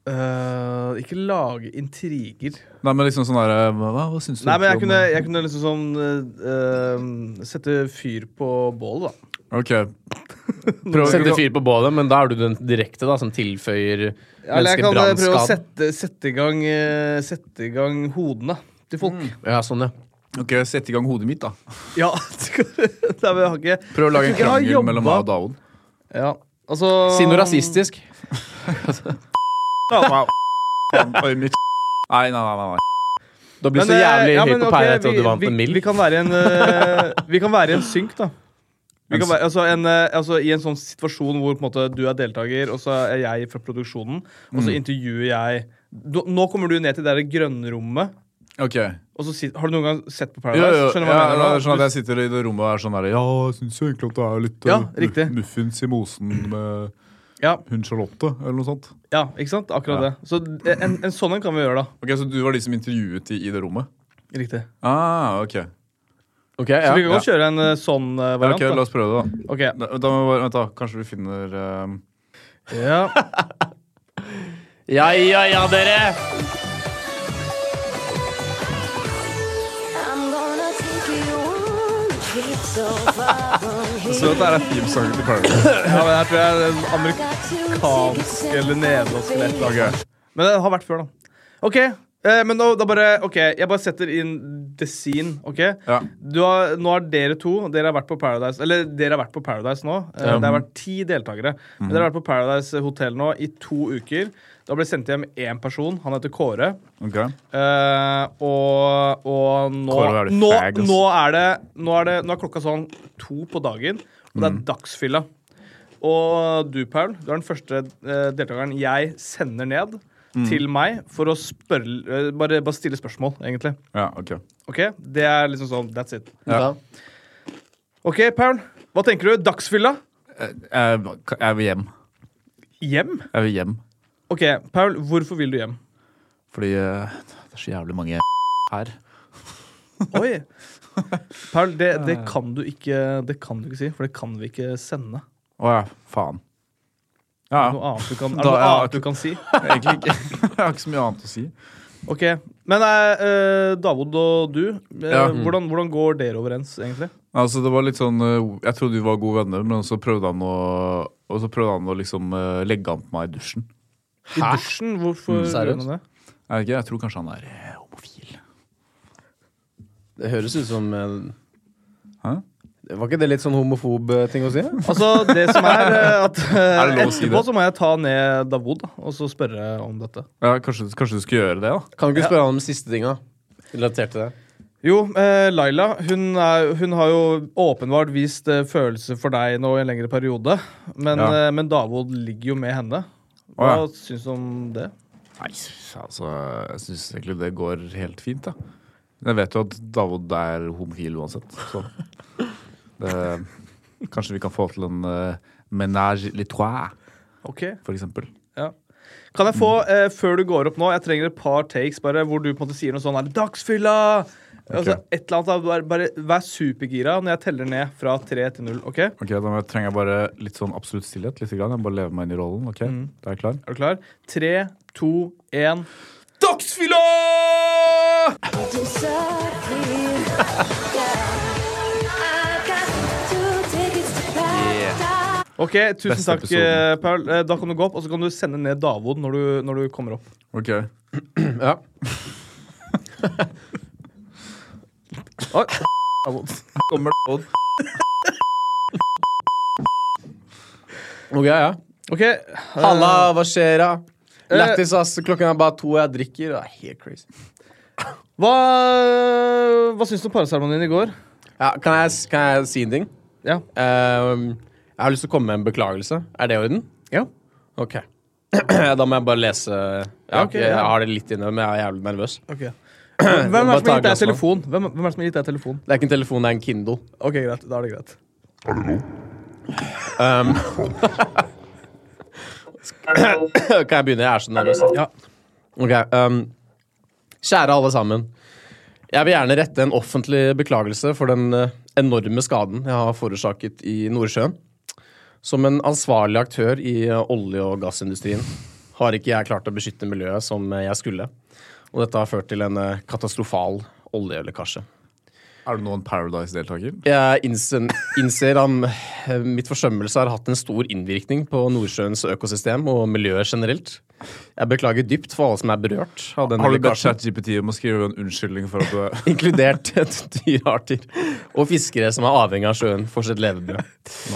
Speaker 3: Eh, Ikke lage intriger.
Speaker 1: Nei, men liksom sånn der Hva, hva, hva syns du?
Speaker 3: Nei, men jeg
Speaker 1: om-
Speaker 3: kunne, jeg kunne liksom sånn eh, eh, Sette fyr på bålet, da.
Speaker 1: Ok. Prøv,
Speaker 2: Sette fyr på bålet, men da er du den direkte da, som tilføyer
Speaker 3: Eller jeg
Speaker 2: mennesker
Speaker 3: kan eh, prøve å
Speaker 2: brannskade.
Speaker 3: sette, sette, i gang, eh, sette i gang hodene til folk.
Speaker 2: Ja, sånn, ja.
Speaker 1: Ok, Sett i gang hodet mitt, da.
Speaker 3: Ja, det er, jeg har ikke
Speaker 1: Prøv å lage en
Speaker 3: Jeg har
Speaker 1: krangel
Speaker 3: jobba-
Speaker 1: mellom meg og Davon.
Speaker 3: ja, altså,
Speaker 2: Si noe rasistisk.
Speaker 1: Oi, mitt Nei, nei, nei. nei.
Speaker 2: Da blir du
Speaker 3: Men,
Speaker 2: så
Speaker 3: eh,
Speaker 2: jævlig
Speaker 3: ja,
Speaker 2: høy
Speaker 3: men
Speaker 2: på
Speaker 3: ok,
Speaker 2: pæra etter at
Speaker 3: vi-
Speaker 2: du vant en
Speaker 3: vi- Vi
Speaker 2: mild.
Speaker 3: kan være i en, eh, vi kan være i en synk, da. Vi
Speaker 1: En
Speaker 3: kan være, altså, en, eh, altså I en sånn situasjon hvor på en måte, du er deltaker, og så er jeg fra produksjonen, og så intervjuer jeg du, Nå kommer du ned til det der grønnrommet.
Speaker 1: Ok.
Speaker 3: Og så sit, har du noen gang sett på
Speaker 1: Jo,
Speaker 3: Paradise?
Speaker 1: jo,
Speaker 3: Skjønner du hva
Speaker 1: ja,
Speaker 3: jeg
Speaker 1: det
Speaker 3: mener?
Speaker 1: er sånn at
Speaker 3: nå?
Speaker 1: jeg sitter i det rommet og er sånn der Ja, jeg syns jo egentlig at det er litt
Speaker 3: Ja,
Speaker 1: eh, mu-
Speaker 3: riktig.
Speaker 1: muffins i mosen med
Speaker 3: Du- ja,
Speaker 1: hun Charlotte, eller noe sånt.
Speaker 3: ja, ikke sant?
Speaker 1: Ja.
Speaker 3: Akkurat det. Så eh, en, en sånn en kan vi gjøre, da.
Speaker 1: Ok, Så du var de som intervjuet de i det rommet?
Speaker 3: Riktig.
Speaker 1: Ah, ok.
Speaker 2: Ok, ja.
Speaker 3: Så vi kan godt kjøre en eh, sånn eh,
Speaker 1: Ja, ok,
Speaker 3: variant.
Speaker 1: La oss prøve det, da.
Speaker 3: da. Ok.
Speaker 1: Da, da må vi bare, vent, da. Kanskje vi finner ehm,
Speaker 3: Ja.
Speaker 2: Ja, ja, ja, dere!
Speaker 8: I'm gonna take you on a trip so far from here.
Speaker 1: Så dette er themesangen til Carnival.
Speaker 3: ja, men her tror jeg det er en amerikansk
Speaker 8: Got to take it
Speaker 3: eller nederlandsk eller et eller annet.
Speaker 1: Ok.
Speaker 3: Men det har vært før, da. OK. Eh, men nå, da bare, ok, Jeg bare setter inn the scene. ok?
Speaker 1: Ja.
Speaker 3: Du har, nå har dere to Dere har vært på Paradise Eller dere har vært på Paradise nå. Eh, Det har vært ti deltakere. Men dere har vært på Paradise Hotel nå i to uker. Da ble det sendt hjem én person. Han heter Kåre.
Speaker 1: Ok.
Speaker 3: Eh, og, og nå,
Speaker 1: Kåre, er du
Speaker 3: nå,
Speaker 1: fag, ass?
Speaker 3: nå, er det, nå er det Nå er klokka sånn to på dagen, og
Speaker 1: Mm.
Speaker 3: det er dagsfylla. Og du, Paul, du er den første eh, deltakeren jeg sender ned
Speaker 1: Mm.
Speaker 3: til meg for å spørre, eh, bare, bare stille spørsmål, egentlig.
Speaker 1: Ja, ok.
Speaker 3: Ok? Det er liksom sånn That's it.
Speaker 1: Ja.
Speaker 3: OK, Paul. Hva tenker du? Dagsfylla?
Speaker 1: Jeg, jeg vil hjem.
Speaker 3: Hjem?
Speaker 1: Jeg vil hjem.
Speaker 3: OK, Paul, hvorfor vil du hjem?
Speaker 1: Fordi eh, det er så jævlig mange her.
Speaker 3: Oi! Paul, det, det kan du ikke Det kan du ikke si, for det kan vi ikke sende.
Speaker 1: Å ja, faen. Ja, ja.
Speaker 3: Noe annet du kan, er det
Speaker 1: Da
Speaker 3: noe
Speaker 1: er-
Speaker 3: annet du kan si?
Speaker 1: Egentlig ikke. Jeg har ikke så mye annet å si.
Speaker 3: Ok, Men eh, Davod og du, eh,
Speaker 1: Ja.
Speaker 3: hvordan, hvordan går dere overens, egentlig?
Speaker 1: Altså, det var litt sånn eh, Jeg trodde vi var gode venner, men så prøvde han å Og så prøvde han å liksom eh, legge an på meg i dusjen.
Speaker 3: I dusjen? Hvorfor gjør
Speaker 2: seriøst?
Speaker 3: man det?
Speaker 1: Jeg vet ikke, jeg tror kanskje han er eh, homofil.
Speaker 2: Det høres ut som eh,
Speaker 1: Hæ?
Speaker 2: Var ikke det litt sånn homofob eh, ting å si?
Speaker 3: Altså, det som er eh, at eh,
Speaker 1: Er det lov å si
Speaker 3: Etterpå
Speaker 1: det?
Speaker 3: så må jeg ta ned Davod da, og så spørre om dette.
Speaker 1: Ja, kanskje, kanskje du skulle gjøre det, da?
Speaker 2: Kan du ikke spørre han om siste tinga? Relatert til det.
Speaker 3: Jo, eh, Laila hun, er, hun har jo åpenbart vist eh, følelser for deg nå i en lengre periode. Men,
Speaker 1: Ja.
Speaker 3: eh, men Davod ligger jo med henne. Hva
Speaker 1: Å, ja.
Speaker 3: syns du om det?
Speaker 1: Nei, altså Jeg syns egentlig det går helt fint, jeg. Men Jeg vet jo at Davod er homofil uansett, så det, Kanskje vi kan få til en uh, ménage les trois,
Speaker 3: Ok
Speaker 1: for eksempel.
Speaker 3: Ja. Kan jeg få, eh, før du går opp nå, jeg trenger et par takes bare, hvor du på en måte sier noe sånn her, Dagsfylla! Altså, et eller annet, da, bare, bare Vær supergira når jeg teller ned fra tre til null. ok? Er
Speaker 1: Ok, Da må jeg- trenger jeg bare litt sånn absolutt stillhet. Lite grann. Jeg må bare leve meg inn i rollen. ok? Da er jeg klar.
Speaker 3: du klar? Tre, to, én
Speaker 1: Dagsfylla!
Speaker 8: disappear. I got two tickets to paradise.
Speaker 3: OK, tusen
Speaker 1: Beste
Speaker 3: takk,
Speaker 1: episoden.
Speaker 3: eh, Paul. Eh, Da kan du gå opp, og så kan du sende ned Davod når du, når du kommer opp.
Speaker 1: Ok.
Speaker 2: Ja.
Speaker 3: Oi. Davod.
Speaker 1: Kommer Davod.
Speaker 2: Ok, ja.
Speaker 3: OK. eh,
Speaker 2: Halla, hva skjer da?
Speaker 3: Eh.
Speaker 2: Lættis, ass. Klokken er bare to, og jeg drikker. Det er helt crazy.
Speaker 3: Hva, hva syns du om parseremonien i går?
Speaker 2: Ja, kan, jeg, kan jeg si en ting?
Speaker 3: Ja.
Speaker 2: Ehm, jeg har lyst til å komme med en beklagelse. Er det i orden? Ja. Ok. da må jeg bare lese. Ja,
Speaker 3: ok,
Speaker 2: Jeg
Speaker 3: ja.
Speaker 2: har det litt inne, men jeg er jævlig nervøs.
Speaker 3: ok. Hvem er det
Speaker 2: Bare
Speaker 3: som
Speaker 2: ta
Speaker 3: har gitt deg
Speaker 2: glass nå.
Speaker 3: telefon? Hvem, hvem er det som har gitt deg telefon?
Speaker 2: Det er ikke en telefon, det er en Kindle.
Speaker 3: OK, greit. Da er det greit.
Speaker 2: kan jeg begynne? Jeg er så nervøs.
Speaker 3: Ja.
Speaker 2: Ok, ehm, Kjære alle sammen. Jeg vil gjerne rette en offentlig beklagelse for den eh, enorme skaden jeg har forårsaket i Nordsjøen. Som en ansvarlig aktør i eh, olje- og gassindustrien har ikke jeg klart å beskytte miljøet som eh, jeg skulle. Og dette har ført til en eh, katastrofal oljelekkasje.
Speaker 1: Er du nå en Paradise-deltaker?
Speaker 2: Jeg innser, innser at mitt forsømmelse har hatt en stor innvirkning på Nordsjøens økosystem og miljøet generelt. Jeg beklager dypt for alle som er berørt av denne
Speaker 1: Har du bedt
Speaker 2: lekkasjen,
Speaker 1: ChatGPT om å skrive en unnskyldning for at du er
Speaker 2: inkludert dyrearter og fiskere som er avhengig av sjøen for sitt levebrød.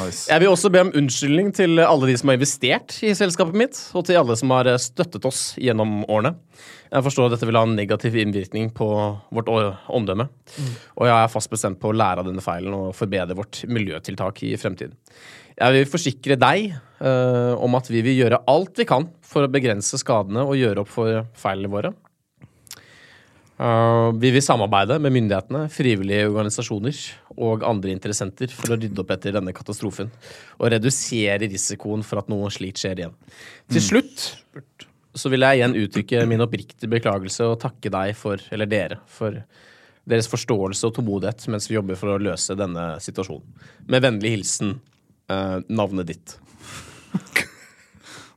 Speaker 1: nice?
Speaker 2: Jeg vil også be om unnskyldning til alle de som har investert i selskapet mitt, og til alle som har eh, støttet oss gjennom årene. Jeg forstår at dette vil ha en negativ innvirkning på vårt å- omdømme, og jeg er fast bestemt på å lære av denne feilen og forbedre vårt miljøtiltak i fremtiden. Jeg vil forsikre deg eh, om at vi vil gjøre alt vi kan for å begrense skadene og gjøre opp for feilene våre. Eh, vi vil samarbeide med myndighetene, frivillige organisasjoner og andre interessenter for å rydde opp etter denne katastrofen og redusere risikoen for at noe slikt skjer igjen. Til slutt så vil jeg igjen uttrykke min oppriktige beklagelse og takke deg for, eller dere, for deres forståelse og tålmodighet mens vi jobber for å løse denne situasjonen. Med vennlig hilsen eh, navnet ditt.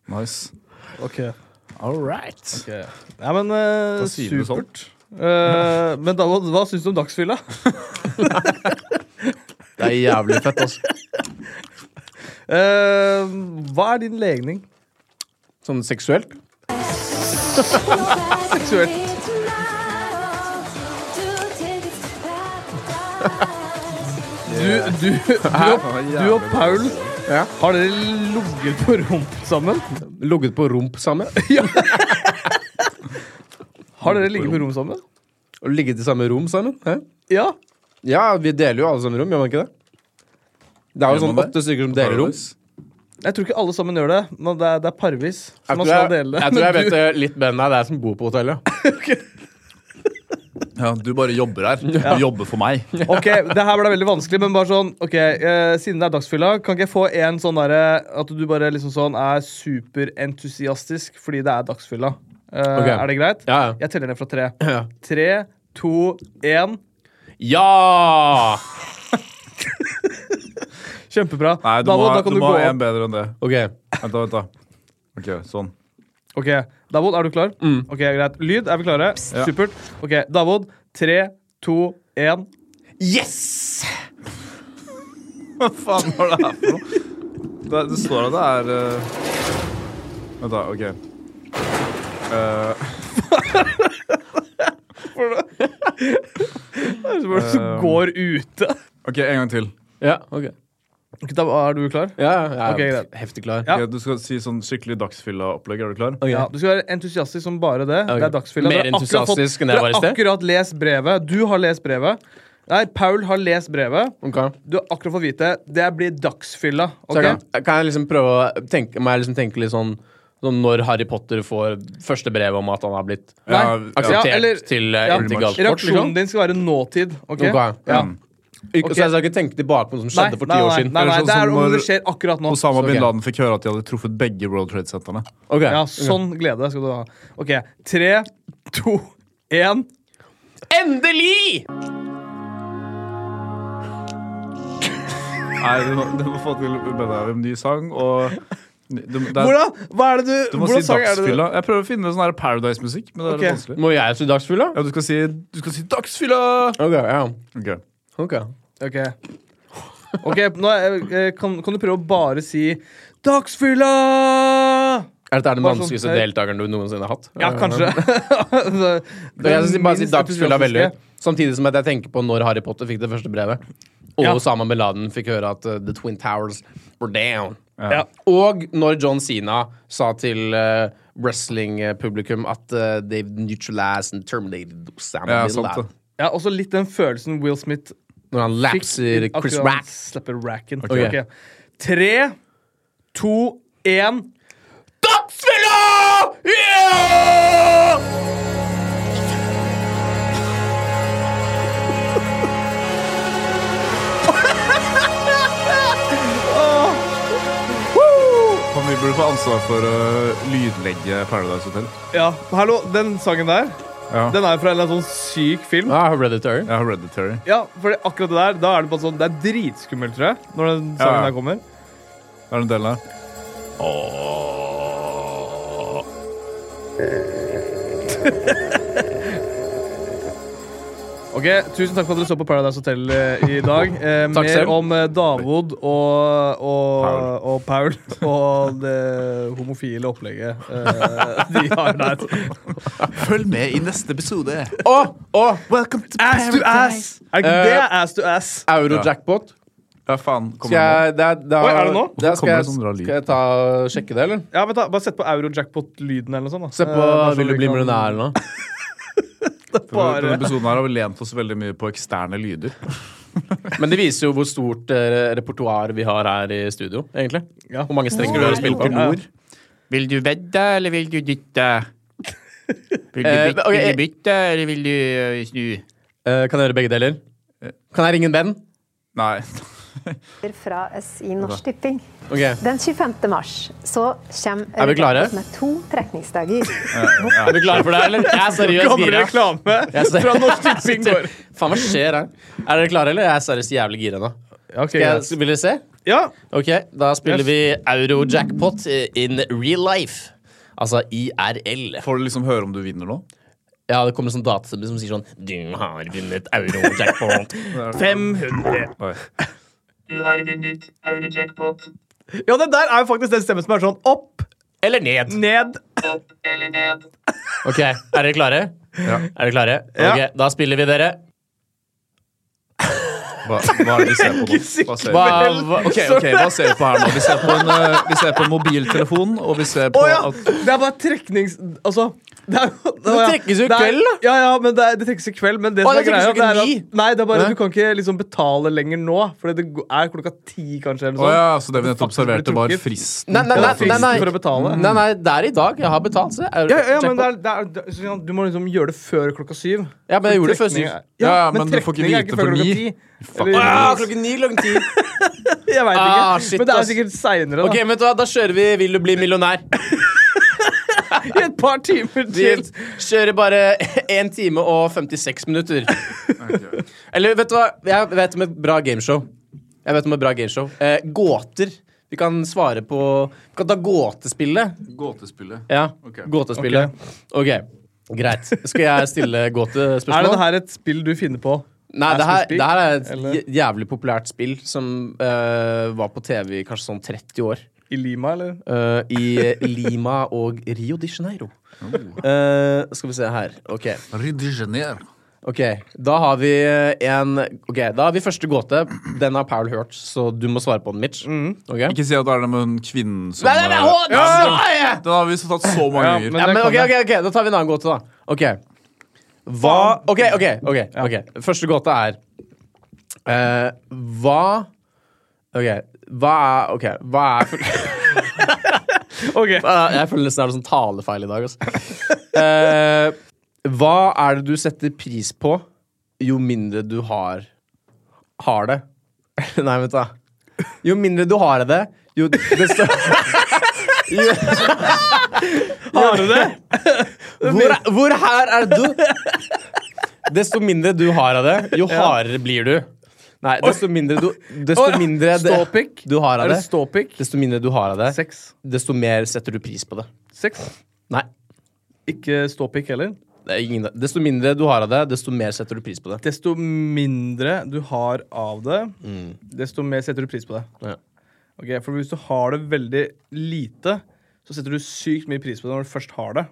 Speaker 1: Nice.
Speaker 3: Ok.
Speaker 2: All right.
Speaker 3: ok. Ja, men eh,
Speaker 1: Da sier vi det sånn.
Speaker 3: supert. Eh, men da, hva, hva syns du om dagsfylla?
Speaker 2: Det er jævlig fett, altså.
Speaker 3: Eh, hva er din legning?
Speaker 2: Sånn seksuelt.
Speaker 3: Seksuelt. Du, du, du, og, du og Paul, har dere ligget på rom sammen?
Speaker 2: Ligget på rump sammen.
Speaker 3: Har dere ligget på rom sammen?
Speaker 2: Og ligget i samme rom sammen. Hæ?
Speaker 3: Ja.
Speaker 2: Ja, vi deler jo alle samme rom, gjør man ikke det? Det er jo
Speaker 1: Gjør man
Speaker 2: sånn
Speaker 1: det?
Speaker 2: åtte stykker som deler rom.
Speaker 1: Paradise.
Speaker 3: Jeg tror ikke alle sammen gjør det, men det er, det er parvis. Så
Speaker 2: Jeg
Speaker 3: man
Speaker 2: tror
Speaker 3: skal
Speaker 2: jeg,
Speaker 3: dele det.
Speaker 2: jeg, tror jeg
Speaker 3: Men
Speaker 2: vet
Speaker 3: du-
Speaker 2: det litt bedre enn deg, det er jeg som bor på hotellet.
Speaker 1: Ja, du bare jobber her. Du jobber for meg.
Speaker 3: Ok, Det her ble veldig vanskelig, men bare sånn ok, eh, siden det er dagsfylla, kan ikke jeg få en sånn derre At du bare liksom sånn er superentusiastisk fordi det er dagsfylla? Eh,
Speaker 2: Ok.
Speaker 3: Er det greit?
Speaker 2: Ja, ja.
Speaker 3: Jeg teller ned fra tre.
Speaker 2: Ja.
Speaker 3: Tre, to, én.
Speaker 2: ja!
Speaker 3: Kjempebra.
Speaker 1: Nei, du
Speaker 3: Davo,
Speaker 1: må,
Speaker 3: da
Speaker 1: ha-
Speaker 3: kan
Speaker 1: du
Speaker 3: du
Speaker 1: må
Speaker 3: gå
Speaker 1: ha en
Speaker 3: opp.
Speaker 1: bedre enn det.
Speaker 2: Ok.
Speaker 1: Vent, da, vent, da. Ok, sånn.
Speaker 3: Ok, Davod, er du klar? Ok, greit. Lyd, er vi klare?
Speaker 1: Ja.
Speaker 3: Supert. Ok, Davod, tre, to, én.
Speaker 2: Yes!
Speaker 1: Hva faen var det her for noe? Det, det står at det er eh, Vent, da. OK. Eh,
Speaker 3: Det er Som
Speaker 1: Um.
Speaker 3: går ute.
Speaker 1: OK, en gang til.
Speaker 2: Ja, ok.
Speaker 3: Ok, da er du klar?
Speaker 2: Ja, ja, jeg er
Speaker 3: Ok, greit.
Speaker 2: heftig klar.
Speaker 3: Ja.
Speaker 1: Ok, du skal si sånn skikkelig dagsfylla-opplegg. Er du klar?
Speaker 2: Ok.
Speaker 3: Ja, Du skal være entusiastisk som bare det. Det er dagsfylla.
Speaker 2: Mer
Speaker 3: Dere har akkurat
Speaker 2: entusiastisk enn jeg
Speaker 3: dere
Speaker 2: var i
Speaker 3: har
Speaker 2: sted.
Speaker 3: Akkurat lest brevet. Du har lest brevet. Nei, Paul har lest brevet.
Speaker 2: Ok.
Speaker 3: Du har akkurat fått vite det blir dagsfylla.
Speaker 2: Så
Speaker 3: ok?
Speaker 2: jeg kan, kan jeg liksom prøve å tenke, må jeg liksom tenke litt sånn sånn når Harry Potter får første brev om at han har blitt
Speaker 1: Ja,
Speaker 3: Nei.
Speaker 1: ja.
Speaker 2: akseptert
Speaker 3: Ja, eller-
Speaker 2: til uh,
Speaker 3: Ja,
Speaker 2: integralt sport. Liksom.
Speaker 3: Reaksjonen din skal være nåtid. ok?
Speaker 2: Ok.
Speaker 3: Ja.
Speaker 1: Mm.
Speaker 2: Ikke-
Speaker 3: Ok.
Speaker 2: Så jeg skal ikke tenke tilbake på noe som
Speaker 3: Nei,
Speaker 2: skjedde for ti
Speaker 3: nei,
Speaker 2: år
Speaker 3: nei,
Speaker 2: siden.
Speaker 3: nei, nei,
Speaker 1: Eller sånn
Speaker 3: det er
Speaker 1: som
Speaker 3: om
Speaker 1: når-
Speaker 3: det skjer akkurat nå.
Speaker 1: Osama
Speaker 2: Så, ok.
Speaker 1: bin Laden fikk høre at de hadde truffet begge World Trade-sentrene.
Speaker 2: Ok.
Speaker 3: Ja, sånn glede skal du ha. Ok, tre, to, én.
Speaker 2: Endelig!
Speaker 1: Nei, du må, du må få til bedre en ny sang og du, det er-
Speaker 3: Hvordan, hva er det du,
Speaker 1: du må
Speaker 3: hvordan
Speaker 1: si
Speaker 3: sang er det du
Speaker 1: dagsfylla. Jeg prøver å finne sånn her Paradise-musikk, men det er
Speaker 3: Ok.
Speaker 1: litt vanskelig.
Speaker 2: Må jeg si dagsfylla?
Speaker 1: Ja, du skal si, du skal si 'dagsfylla'!
Speaker 2: Ok, ja.
Speaker 1: Ok.
Speaker 2: Ok.
Speaker 3: Ok, Ok, nå er, eh, kan, kan du prøve å bare si 'Dagsfylla'?
Speaker 2: Er dette den
Speaker 3: Bare sånn,
Speaker 2: vanskeligste
Speaker 3: eh,
Speaker 2: deltakeren du noensinne har hatt?
Speaker 3: Ja, kanskje.
Speaker 2: Og Jeg synes bare si
Speaker 3: minst
Speaker 2: dagsfylla veldig
Speaker 3: entusiastiske.
Speaker 2: Samtidig som at jeg tenker på når Harry Potter fikk det første brevet. Og
Speaker 3: Ja.
Speaker 2: Osama bin Laden fikk høre at uh, The Twin Towers were down.
Speaker 3: Ja.
Speaker 2: Og når John Sina sa til uh, wrestling-publikum at uh, they've neutralized and terminated Osama
Speaker 1: Ja,
Speaker 2: bin
Speaker 1: sant det.
Speaker 2: Laden.
Speaker 3: ja, også litt den følelsen Will Smith
Speaker 2: Når han lapser
Speaker 3: akkurat
Speaker 2: Chris
Speaker 3: han
Speaker 2: Rack.
Speaker 3: Slipper racken.
Speaker 2: Ok.
Speaker 3: Ok. Tre, to, én.
Speaker 2: Dagsfylla! Ja!
Speaker 1: Han vi burde få ansvar for å lydlegge Paradise Hotel.
Speaker 3: Ja, hallo, den sangen der,
Speaker 1: Ja.
Speaker 3: den er fra en eller annen sånn syk film.
Speaker 2: Ja, Hereditary.
Speaker 1: Ja, Hereditary.
Speaker 3: Ja, for det- akkurat det der, da er det bare sånn, det er dritskummelt, tror jeg, når den sangen
Speaker 1: Ja, ja.
Speaker 3: der kommer.
Speaker 1: Er det en del der?
Speaker 3: Ok, tusen takk for at dere så på Paradise Hotel eh, i dag. Eh,
Speaker 2: Takk
Speaker 3: mer
Speaker 2: selv.
Speaker 3: om eh, Davod og, og, og Paul og det homofile opplegget eh, de har der.
Speaker 1: Følg med i neste episode.
Speaker 2: Og, og
Speaker 1: Welcome to
Speaker 3: Ass to ass! Er det, ikke det
Speaker 2: Eh,
Speaker 3: er ass to ass.
Speaker 2: Eurojackpot.
Speaker 1: Ja, faen. Kom
Speaker 2: Skal
Speaker 1: igjen.
Speaker 2: jeg, det er, det er,
Speaker 3: Oi, er det nå?
Speaker 2: Det er,
Speaker 1: Hvorfor
Speaker 2: skal,
Speaker 1: kommer
Speaker 2: jeg,
Speaker 1: det sånn rar lyd?
Speaker 2: skal jeg ta, sjekke det, eller?
Speaker 3: Ja, vent da, Bare sett på Eurojackpot-lyden eller noe sånt. da.
Speaker 2: Se
Speaker 3: Eh,
Speaker 2: på
Speaker 3: bare så
Speaker 2: Vil du
Speaker 3: vi
Speaker 2: bli
Speaker 3: kan-
Speaker 2: millionær nå?
Speaker 1: Denne
Speaker 3: Bare.
Speaker 1: episoden her har vi lent oss veldig mye på eksterne lyder.
Speaker 2: Men det viser jo hvor stort eh, repertoar vi har her i studio, egentlig.
Speaker 3: Ja.
Speaker 2: Hvor mange strenger du har spilt på.
Speaker 3: Ja, ja.
Speaker 1: Vil du vedde, eller vil du dytte? Vil
Speaker 2: Eh, bytte- ok, vil du
Speaker 1: bytte, eller vil du snu?
Speaker 2: Eh, kan jeg gjøre begge deler? Kan jeg ringe en Ben?
Speaker 1: Nei.
Speaker 9: fra oss i Norsk Tipping.
Speaker 2: Ok,
Speaker 9: Den 25. mars så kommer
Speaker 2: Er vi klare?
Speaker 9: Rødbeck med to trekningsdager.
Speaker 2: Er du klar for det, eller? Jeg er seriøst
Speaker 3: Gammel
Speaker 2: gira.
Speaker 3: reklame
Speaker 2: Jeg ser-
Speaker 3: fra Norsk Tipping går.
Speaker 2: Faen, hva skjer her? Er dere klare, eller? Jeg er seriøst jævlig gira nå.
Speaker 3: Ja, ok,
Speaker 2: Skal jeg,
Speaker 3: greit.
Speaker 2: skal, vil dere se?
Speaker 3: ja,
Speaker 2: Ok, da spiller
Speaker 3: Yes.
Speaker 2: vi euro-jackpot in real life. Altså IRL.
Speaker 1: Får du liksom høre om du vinner nå?
Speaker 2: Ja, det kommer en sånn data som sier sånn Du har vunnet euro-jackpot.
Speaker 3: 500.
Speaker 1: Oi.
Speaker 3: Ja, det der er jo faktisk den stemmen som er sånn opp,
Speaker 2: Eller ned.
Speaker 3: ned.
Speaker 2: Ok, er dere klare?
Speaker 1: Ja.
Speaker 2: Er dere klare? Ok,
Speaker 3: Ja.
Speaker 2: Da spiller vi, dere.
Speaker 1: Hva, hva er det de ser på nå? Hva ser
Speaker 2: Hva,
Speaker 1: de?
Speaker 2: hva,
Speaker 1: Ok, ok, hva ser vi på her nå? Vi ser på en, eh, vi ser på en mobiltelefon, og vi ser på
Speaker 3: Å ja!
Speaker 1: at
Speaker 3: Det er bare treknings... Altså det, er, jo- å ja.
Speaker 2: trekkes jo i
Speaker 3: Det er-
Speaker 2: kveld, da.
Speaker 3: Ja, ja, men det, er, det trekkes i kveld. Men det
Speaker 2: Å,
Speaker 3: som
Speaker 2: det
Speaker 3: er
Speaker 2: trekkes
Speaker 3: greia,
Speaker 2: jo ikke
Speaker 3: det er at,
Speaker 2: ni.
Speaker 3: nei, det er bare
Speaker 2: Nei.
Speaker 3: du kan ikke liksom betale lenger nå, for det go- er klokka ti, kanskje.
Speaker 1: Å
Speaker 3: Eller noe sånt.
Speaker 1: ja, så det vi nettopp
Speaker 3: Faktisk ble
Speaker 1: serverte, var
Speaker 3: trukket.
Speaker 1: fristen.
Speaker 2: Nei, nei, nei, nei, nei.
Speaker 3: For å betale.
Speaker 2: Nei, nei, det er i dag. Jeg har betalt. Så.
Speaker 3: Ja, ja, men det er, det er, det er, sånn, du må liksom gjøre det før klokka syv.
Speaker 2: Ja, men jeg gjorde det før
Speaker 3: Trekning
Speaker 2: syv.
Speaker 3: er-
Speaker 1: Ja, ja, men du får ikke
Speaker 3: trekning er
Speaker 1: vite
Speaker 3: før
Speaker 1: før
Speaker 3: klokka
Speaker 1: ni.
Speaker 3: ti.
Speaker 1: Faen.
Speaker 3: Eller-
Speaker 2: Ah, klokken ni, klokken ti.
Speaker 3: Jeg vet ikke.
Speaker 2: Ah, shit,
Speaker 3: men det er
Speaker 2: ass.
Speaker 3: sikkert seinere,
Speaker 2: Ok, vet du hva, Da kjører vi 'Vil du bli millionær'.
Speaker 3: da. I et par
Speaker 2: Vi
Speaker 3: timer til.
Speaker 2: kjører bare 1 time og 56 minutter. Eller vet du hva, jeg vet om et bra gameshow. Jeg vet om et bra gameshow. Eh, gåter. Vi kan svare på Vi kan ta gåtespillet.
Speaker 1: Gåtespillet.
Speaker 2: Ja,
Speaker 1: Ok.
Speaker 2: gåtespillet. ok, greit. Skal jeg stille gåtespørsmål?
Speaker 3: Er det her et spill du finner på?
Speaker 2: Nei, det her,
Speaker 3: Ask
Speaker 2: det her er et
Speaker 3: Eller?
Speaker 2: jæ- jævlig populært spill som eh, var på TV i kanskje sånn 30 år.
Speaker 3: I Lima, eller?
Speaker 2: Eh, I Lima og Rio de Janeiro.
Speaker 1: Oh.
Speaker 2: Eh, skal vi se her. Ok. Ok, da har vi eh, en Ok, da har vi første gåte. Den har Paul hørt, så du må svare på den, Mitch. Ok?
Speaker 1: Mm. Ikke si at det er den med hun kvinnen som
Speaker 2: Nei, nei, nei, hold-
Speaker 1: eh, ja,
Speaker 2: nei!
Speaker 1: men Den har vi så tatt så mange
Speaker 3: Ja,
Speaker 1: ganger.
Speaker 3: men-
Speaker 2: Ja, men
Speaker 3: det
Speaker 2: ok,
Speaker 3: kan
Speaker 2: ok, ok, Da tar vi en annen gåte, da. Ok. Hva Ok, ok. ok, ok Første gåte er eh, Hva Ok, hva er Ok, hva er
Speaker 3: Ok.
Speaker 2: Eh, Jeg føler nesten det er sånn talefeil i dag, altså. Eh, hva er det du setter pris på jo mindre du har har det? Nei, vent, da. Jo mindre du har det, jo desto jo,
Speaker 3: Har du det?
Speaker 2: hvor, hvor her er du? Desto mindre du har av det, jo hardere blir du. Nei, desto mindre du Desto
Speaker 3: Oi.
Speaker 2: mindre det,
Speaker 3: Ståpikk?
Speaker 2: du har
Speaker 3: Er
Speaker 2: av
Speaker 3: det
Speaker 2: det,
Speaker 3: ståpikk?
Speaker 2: desto mindre du har av det,
Speaker 3: Seks.
Speaker 2: desto mer setter du pris på det.
Speaker 3: Seks.
Speaker 2: Nei.
Speaker 3: Ikke ståpikk heller.
Speaker 2: Det er ingen, desto mindre du har av det, desto mer setter du pris på det.
Speaker 3: Desto mindre du har av det, desto mer setter du pris på det.
Speaker 2: Mm. Ja.
Speaker 3: Ok, For hvis du har det veldig lite, så setter du sykt mye pris på det når du først har det.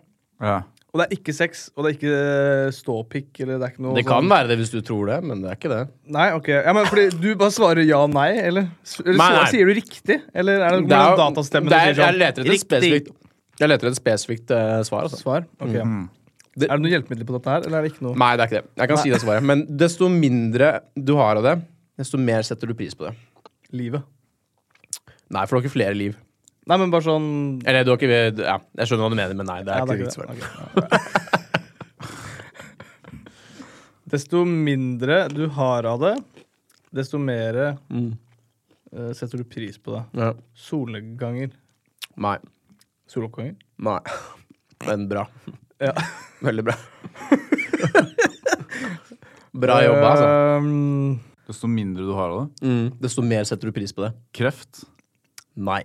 Speaker 1: Ja.
Speaker 3: Og det er ikke sex, og det er ikke ståpikk. eller det er ikke noe sånn-
Speaker 2: Det kan være det hvis du tror det, men det er ikke det.
Speaker 3: Nei, ok. Ja, men fordi Du bare svarer ja og nei, eller? S- eller
Speaker 2: Nei,
Speaker 3: så-
Speaker 2: nei.
Speaker 3: Sier du riktig? Eller er det,
Speaker 2: Det er-
Speaker 3: noen datastemme
Speaker 2: det
Speaker 3: som
Speaker 2: er,
Speaker 3: sier sånn?
Speaker 2: jeg leter etter et
Speaker 3: Riktig.
Speaker 2: spesifikt, jeg leter etter et spesifikt eh, svar. Altså.
Speaker 3: Svar? Ok.
Speaker 2: Det-
Speaker 3: Er det noe hjelpemiddel på dette her, eller er det ikke noe?
Speaker 2: Nei, det er ikke det. Jeg kan si det svaret. Men desto mindre du har av det, desto mer setter du pris på det.
Speaker 3: Livet.
Speaker 2: Nei, for du har ikke flere liv.
Speaker 3: Nei, men bare sånn
Speaker 2: Eller du har ikke ja, Jeg skjønner hva du mener, men nei. Det er
Speaker 3: Ja,
Speaker 2: ikke
Speaker 3: det er
Speaker 2: riktig
Speaker 3: ikke
Speaker 2: svar.
Speaker 3: det. Ok. Desto mindre du har av det, desto mer eh, setter du pris på det.
Speaker 2: Ja.
Speaker 3: Solnedganger.
Speaker 2: Nei.
Speaker 3: Soloppganger.
Speaker 2: nei. Men bra.
Speaker 3: Ja.
Speaker 2: Veldig bra. bra jobba, altså.
Speaker 3: Ehm,
Speaker 1: Desto mindre du har av det.
Speaker 3: Eh,
Speaker 2: Mm, desto mer setter du pris på det.
Speaker 1: Kreft?
Speaker 2: Nei.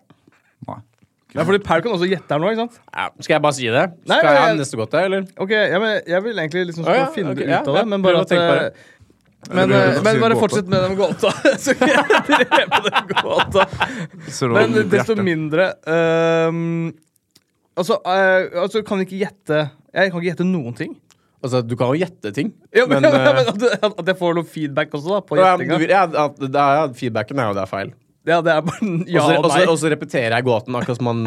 Speaker 1: Nei.
Speaker 3: ja, fordi Paul kan også gjette her nå, ikke sant?
Speaker 2: Ja, skal jeg bare si det?
Speaker 3: Nei,
Speaker 2: skal jeg ha
Speaker 3: jeg-
Speaker 2: neste gåte, eller?
Speaker 3: Ok, ja, men Jeg vil egentlig liksom
Speaker 2: Å, ja,
Speaker 3: stå og finne
Speaker 2: ok,
Speaker 3: ut
Speaker 2: ja,
Speaker 3: av
Speaker 2: ja,
Speaker 3: det, men
Speaker 2: prøv
Speaker 3: bare
Speaker 2: å
Speaker 3: at
Speaker 2: tenke
Speaker 3: eh,
Speaker 2: på
Speaker 3: men,
Speaker 1: Eller
Speaker 3: eh,
Speaker 1: prøver du å
Speaker 3: men
Speaker 1: si
Speaker 3: bare
Speaker 1: gåta?
Speaker 3: fortsett med den gåta. Så kan jeg drepe den gåta.
Speaker 1: Ser du hva
Speaker 3: Men
Speaker 1: det er i
Speaker 3: desto
Speaker 1: hjertet?
Speaker 3: mindre ehm, altså, eh, altså, kan vi ikke gjette Jeg kan ikke gjette noen ting.
Speaker 2: Altså, du kan jo gjette ting.
Speaker 3: Ja, men,
Speaker 2: men, eh,
Speaker 3: men at, du- at jeg får noe feedback også, da, på
Speaker 2: ja, men
Speaker 3: gjettinga.
Speaker 2: du vil- ja, at det er, ja, feedbacken er jo det er feil.
Speaker 3: Ja, det er bare en
Speaker 2: og,
Speaker 3: ja
Speaker 2: så,
Speaker 3: og
Speaker 2: og, så,
Speaker 3: nei.
Speaker 2: og så repeterer jeg gåten, akkurat som man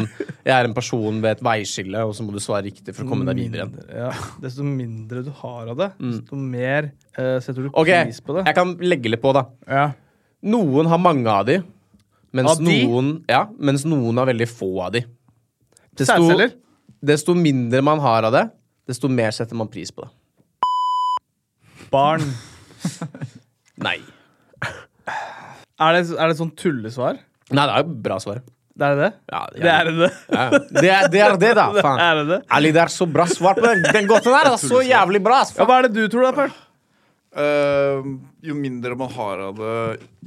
Speaker 2: Jeg er en person ved et veiskille, og så må du svare riktig for å
Speaker 3: Mm.
Speaker 2: komme deg videre igjen. Mm.
Speaker 3: Mindre, ja. Desto mindre du har av det, desto mer eh, setter du
Speaker 2: Ok,
Speaker 3: pris på det.
Speaker 2: jeg kan legge litt på, da.
Speaker 3: Ja.
Speaker 2: Noen har mange av de, mens,
Speaker 3: Av de?
Speaker 2: Noen, ja, mens noen har veldig få av de. Desto-
Speaker 3: Sædceller?
Speaker 2: Desto mindre man har av det, desto mer setter man pris på det.
Speaker 3: Barn.
Speaker 2: Nei.
Speaker 3: Er det, er det sånn tullesvar?
Speaker 2: Nei, det er jo bra svar.
Speaker 3: Det er det?
Speaker 2: Ja,
Speaker 3: det er det.
Speaker 2: Ja, ja. det, er, det er det, da. Faen.
Speaker 3: Er det det?
Speaker 2: Ali, det er så bra svar på den, den gåten der! Det er så jævlig bra! ass,
Speaker 3: Ja,
Speaker 2: faen.
Speaker 3: hva er det du tror, da, Perl?
Speaker 1: Eh, jo mindre man har av det,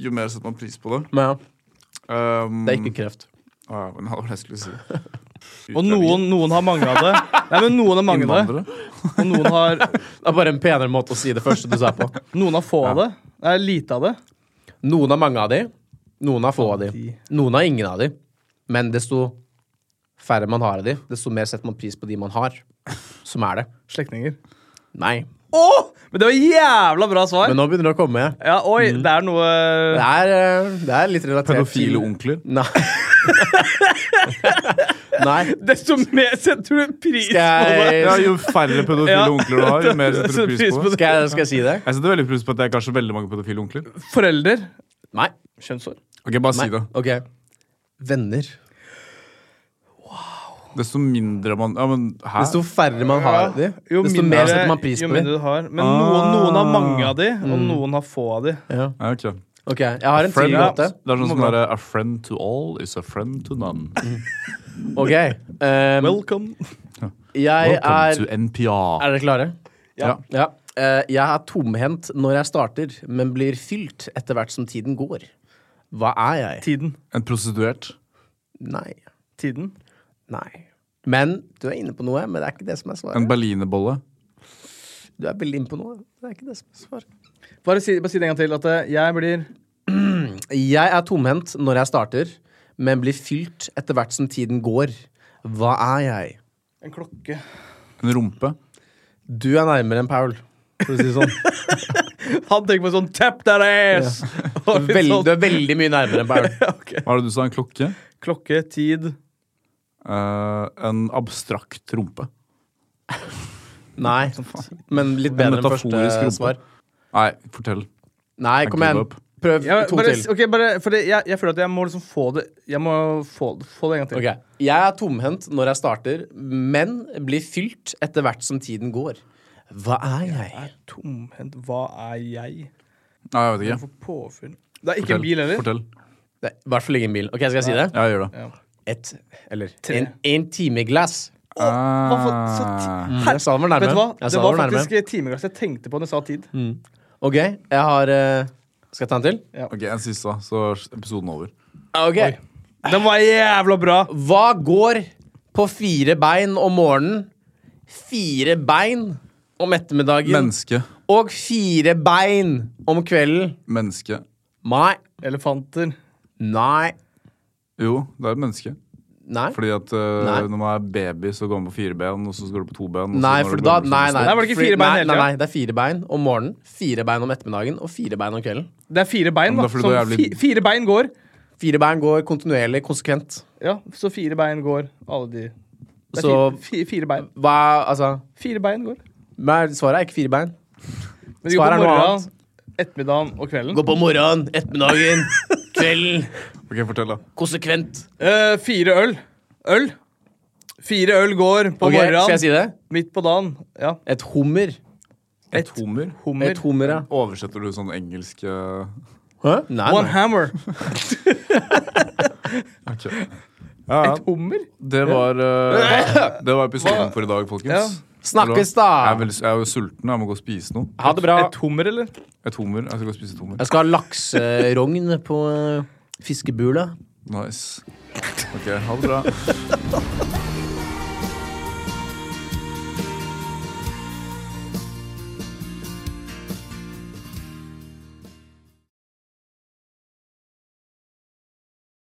Speaker 1: jo mer setter man pris på det.
Speaker 2: Men ja,
Speaker 1: Um,
Speaker 2: det er ikke kreft.
Speaker 1: ah, ja, men det var det jeg skulle si.
Speaker 3: Og noen, noen har mange av det. Nei, men noen har mange av det.
Speaker 1: Innvandrere.
Speaker 3: Og noen har,
Speaker 2: Det er bare en penere måte å si det første du sa på.
Speaker 3: noen har få av det. Det er lite av det.
Speaker 2: Noen har mange av de, noen har få av de. Noen har ingen av de. Men desto færre man har av de, desto mer setter man pris på de man har. Som er det.
Speaker 3: Slektninger.
Speaker 2: Nei.
Speaker 3: Å! Men det var jævla bra svar!
Speaker 2: Men Mm. nå begynner det å komme.
Speaker 3: Ja, oi, det er noe
Speaker 2: Det er, eh, det er litt relatert
Speaker 1: Pedofile
Speaker 2: til-
Speaker 1: onkler.
Speaker 2: Nei. Nei.
Speaker 3: Desto mer setter du pris på det!
Speaker 2: Skal
Speaker 1: Ja,
Speaker 2: jeg,
Speaker 1: jo færre pedofile
Speaker 3: Ja.
Speaker 1: onkler du har, jo mer setter
Speaker 3: Setter
Speaker 1: du pris på det.
Speaker 2: skal, jeg, skal jeg si det?
Speaker 1: Jeg setter veldig pris på at det er kanskje veldig mange pedofile onkler.
Speaker 3: Forelder.
Speaker 2: Nei.
Speaker 3: Kjønnsår.
Speaker 1: Ok, bare si
Speaker 2: Nei.
Speaker 1: det.
Speaker 2: Ok. Venner.
Speaker 1: Desto mindre man Ja, men hæ?
Speaker 2: Desto færre man har av de,
Speaker 3: Jo
Speaker 2: desto mer setter man pris
Speaker 3: jo
Speaker 2: på Ah. Mm. de.
Speaker 3: mindre du har. Men noen, noen har mange av de, og noen har få av de.
Speaker 2: Ja.
Speaker 1: Ja, ok.
Speaker 2: Ok, jeg har en til
Speaker 1: Friend,
Speaker 2: gåte.
Speaker 1: det er sånn som der, A friend to all is a friend to none.
Speaker 2: Ok. ehm,
Speaker 3: Welcome.
Speaker 2: jeg
Speaker 1: Welcome
Speaker 2: er
Speaker 1: to NPR.
Speaker 2: Er dere klare?
Speaker 1: Ja.
Speaker 2: ja. Eh, jeg er tomhendt når jeg starter, men blir fylt etter hvert som tiden går. Hva er jeg?
Speaker 3: Tiden.
Speaker 1: En prostituert.
Speaker 2: Nei.
Speaker 3: Tiden.
Speaker 2: Nei. Men du er inne på noe, men det er ikke det som er
Speaker 1: En
Speaker 2: svaret.
Speaker 1: berlinerbolle.
Speaker 2: Du er veldig inne på noe. Det er ikke det som er svaret.
Speaker 3: Bare si, bare si det en gang til. At eh, jeg blir
Speaker 2: Jeg er tomhendt når jeg starter, men blir fylt etter hvert som tiden går. Hva er jeg?
Speaker 3: En klokke.
Speaker 1: En rumpe.
Speaker 2: Du er nærmere enn Paul, for å si det sånn.
Speaker 3: Han tenker på sånn tap that ass! Og litt
Speaker 2: Vel,
Speaker 3: sånn-
Speaker 2: du er veldig mye nærmere enn Paul.
Speaker 3: Ok.
Speaker 1: Hva er det du sa? En klokke?
Speaker 3: Klokke, tid
Speaker 1: Eh, en abstrakt rumpe.
Speaker 2: Nei, men litt bedre enn
Speaker 1: metaforisk
Speaker 2: første
Speaker 1: rumpe.
Speaker 2: svar.
Speaker 1: Nei, fortell.
Speaker 2: Nei, kom
Speaker 1: give
Speaker 2: igjen.
Speaker 1: up.
Speaker 2: Prøv
Speaker 3: ja,
Speaker 2: to
Speaker 3: bare,
Speaker 2: til.
Speaker 3: ok, bare, for det, jeg, jeg føler at jeg må liksom få det Jeg må få, det- få det en gang til.
Speaker 2: Ok, Jeg er tomhendt når jeg starter, men blir fylt etter hvert som tiden går. Hva er jeg?
Speaker 3: Er tomhendt. Hva er jeg?
Speaker 1: Nei, jeg vet ikke.
Speaker 3: For påfyll Det er ikke
Speaker 1: Fortell.
Speaker 3: en bil heller.
Speaker 1: Fortell.
Speaker 2: Det er I hvert fall ikke en bil. Ok, Skal jeg si det?
Speaker 1: Ja, gjør det.
Speaker 2: Et, eller en, en timeglass.
Speaker 3: Hva for, så
Speaker 1: Ah.
Speaker 3: ti
Speaker 2: Jeg sa den var
Speaker 3: Vet du hva?
Speaker 2: nærme. Jeg
Speaker 3: Det
Speaker 2: sa
Speaker 3: var
Speaker 2: den var nærme.
Speaker 3: faktisk timeglass jeg tenkte på når jeg sa tid.
Speaker 2: Ok, jeg har eh, Skal jeg ta en til?
Speaker 1: Ok, En siste, da, så er episoden over.
Speaker 2: Ok.
Speaker 3: Den var jævla bra!
Speaker 2: Hva går på fire bein om morgenen, fire bein om ettermiddagen
Speaker 1: Menneske.
Speaker 2: og fire bein om kvelden?
Speaker 1: Menneske.
Speaker 2: Nei.
Speaker 3: Elefanter.
Speaker 2: Nei.
Speaker 1: Jo, det er et menneske.
Speaker 2: Nei.
Speaker 1: Fordi at eh,
Speaker 2: Nei.
Speaker 1: når man er baby, så går man på fire ben, og så går du på to ben. og så
Speaker 2: Nei,
Speaker 1: når
Speaker 2: for
Speaker 1: du
Speaker 2: da
Speaker 1: går over, så
Speaker 2: Nei, nei.
Speaker 3: Nei, var det ikke
Speaker 2: Fordi-
Speaker 3: fire bein
Speaker 2: nei,
Speaker 3: hele
Speaker 2: nei,
Speaker 3: tida?
Speaker 2: nei, det er fire bein om morgenen, fire bein om ettermiddagen og fire bein om kvelden.
Speaker 3: Det er fire
Speaker 1: Men
Speaker 3: bein, da.
Speaker 1: da får du
Speaker 3: Så
Speaker 1: det
Speaker 3: fi,
Speaker 1: jævlig-
Speaker 3: fire bein går.
Speaker 2: Fire bein går kontinuerlig, konsekvent.
Speaker 3: Ja, så fire bein går, alle de. Det er
Speaker 2: Så-
Speaker 3: fire, fire, fire bein.
Speaker 2: Hva Altså
Speaker 3: Fire bein går.
Speaker 2: nei, Svaret er ikke fire bein.
Speaker 3: Men de
Speaker 2: Svaret
Speaker 3: går
Speaker 2: er
Speaker 3: på
Speaker 2: noe
Speaker 3: morgenen, ettermiddagen og kvelden.
Speaker 2: på morgenen, ettermiddagen, kvelden.
Speaker 1: Ok, fortell da
Speaker 2: Konsekvent.
Speaker 3: Eh, fire øl. Øl. Fire øl går på
Speaker 2: Ok,
Speaker 3: morgenen,
Speaker 2: Skal jeg si det?
Speaker 3: midt på dagen. Ja.
Speaker 2: Et hummer.
Speaker 1: Et hummer?
Speaker 3: Hummer.
Speaker 2: Et hummer, ja.
Speaker 1: Oversetter du sånn engelsk eh,
Speaker 2: Hæ? Nei,
Speaker 3: One
Speaker 2: nei.
Speaker 3: hammer.
Speaker 1: ok. Ja, ja.
Speaker 3: Et hummer?
Speaker 1: Det var, eh, det var episoden for i dag, folkens.
Speaker 2: Snakkes,
Speaker 1: Jeg er,
Speaker 2: da.
Speaker 1: veldig, jeg er jo sulten. Jeg må gå og spise noe.
Speaker 2: Ha det bra.
Speaker 3: Et hummer, eller?
Speaker 1: Et hummer. Jeg skal gå og spise et hummer.
Speaker 2: Jeg skal ha lakserogn på eh, fiskebula.
Speaker 1: Nice. Ok, ha det bra.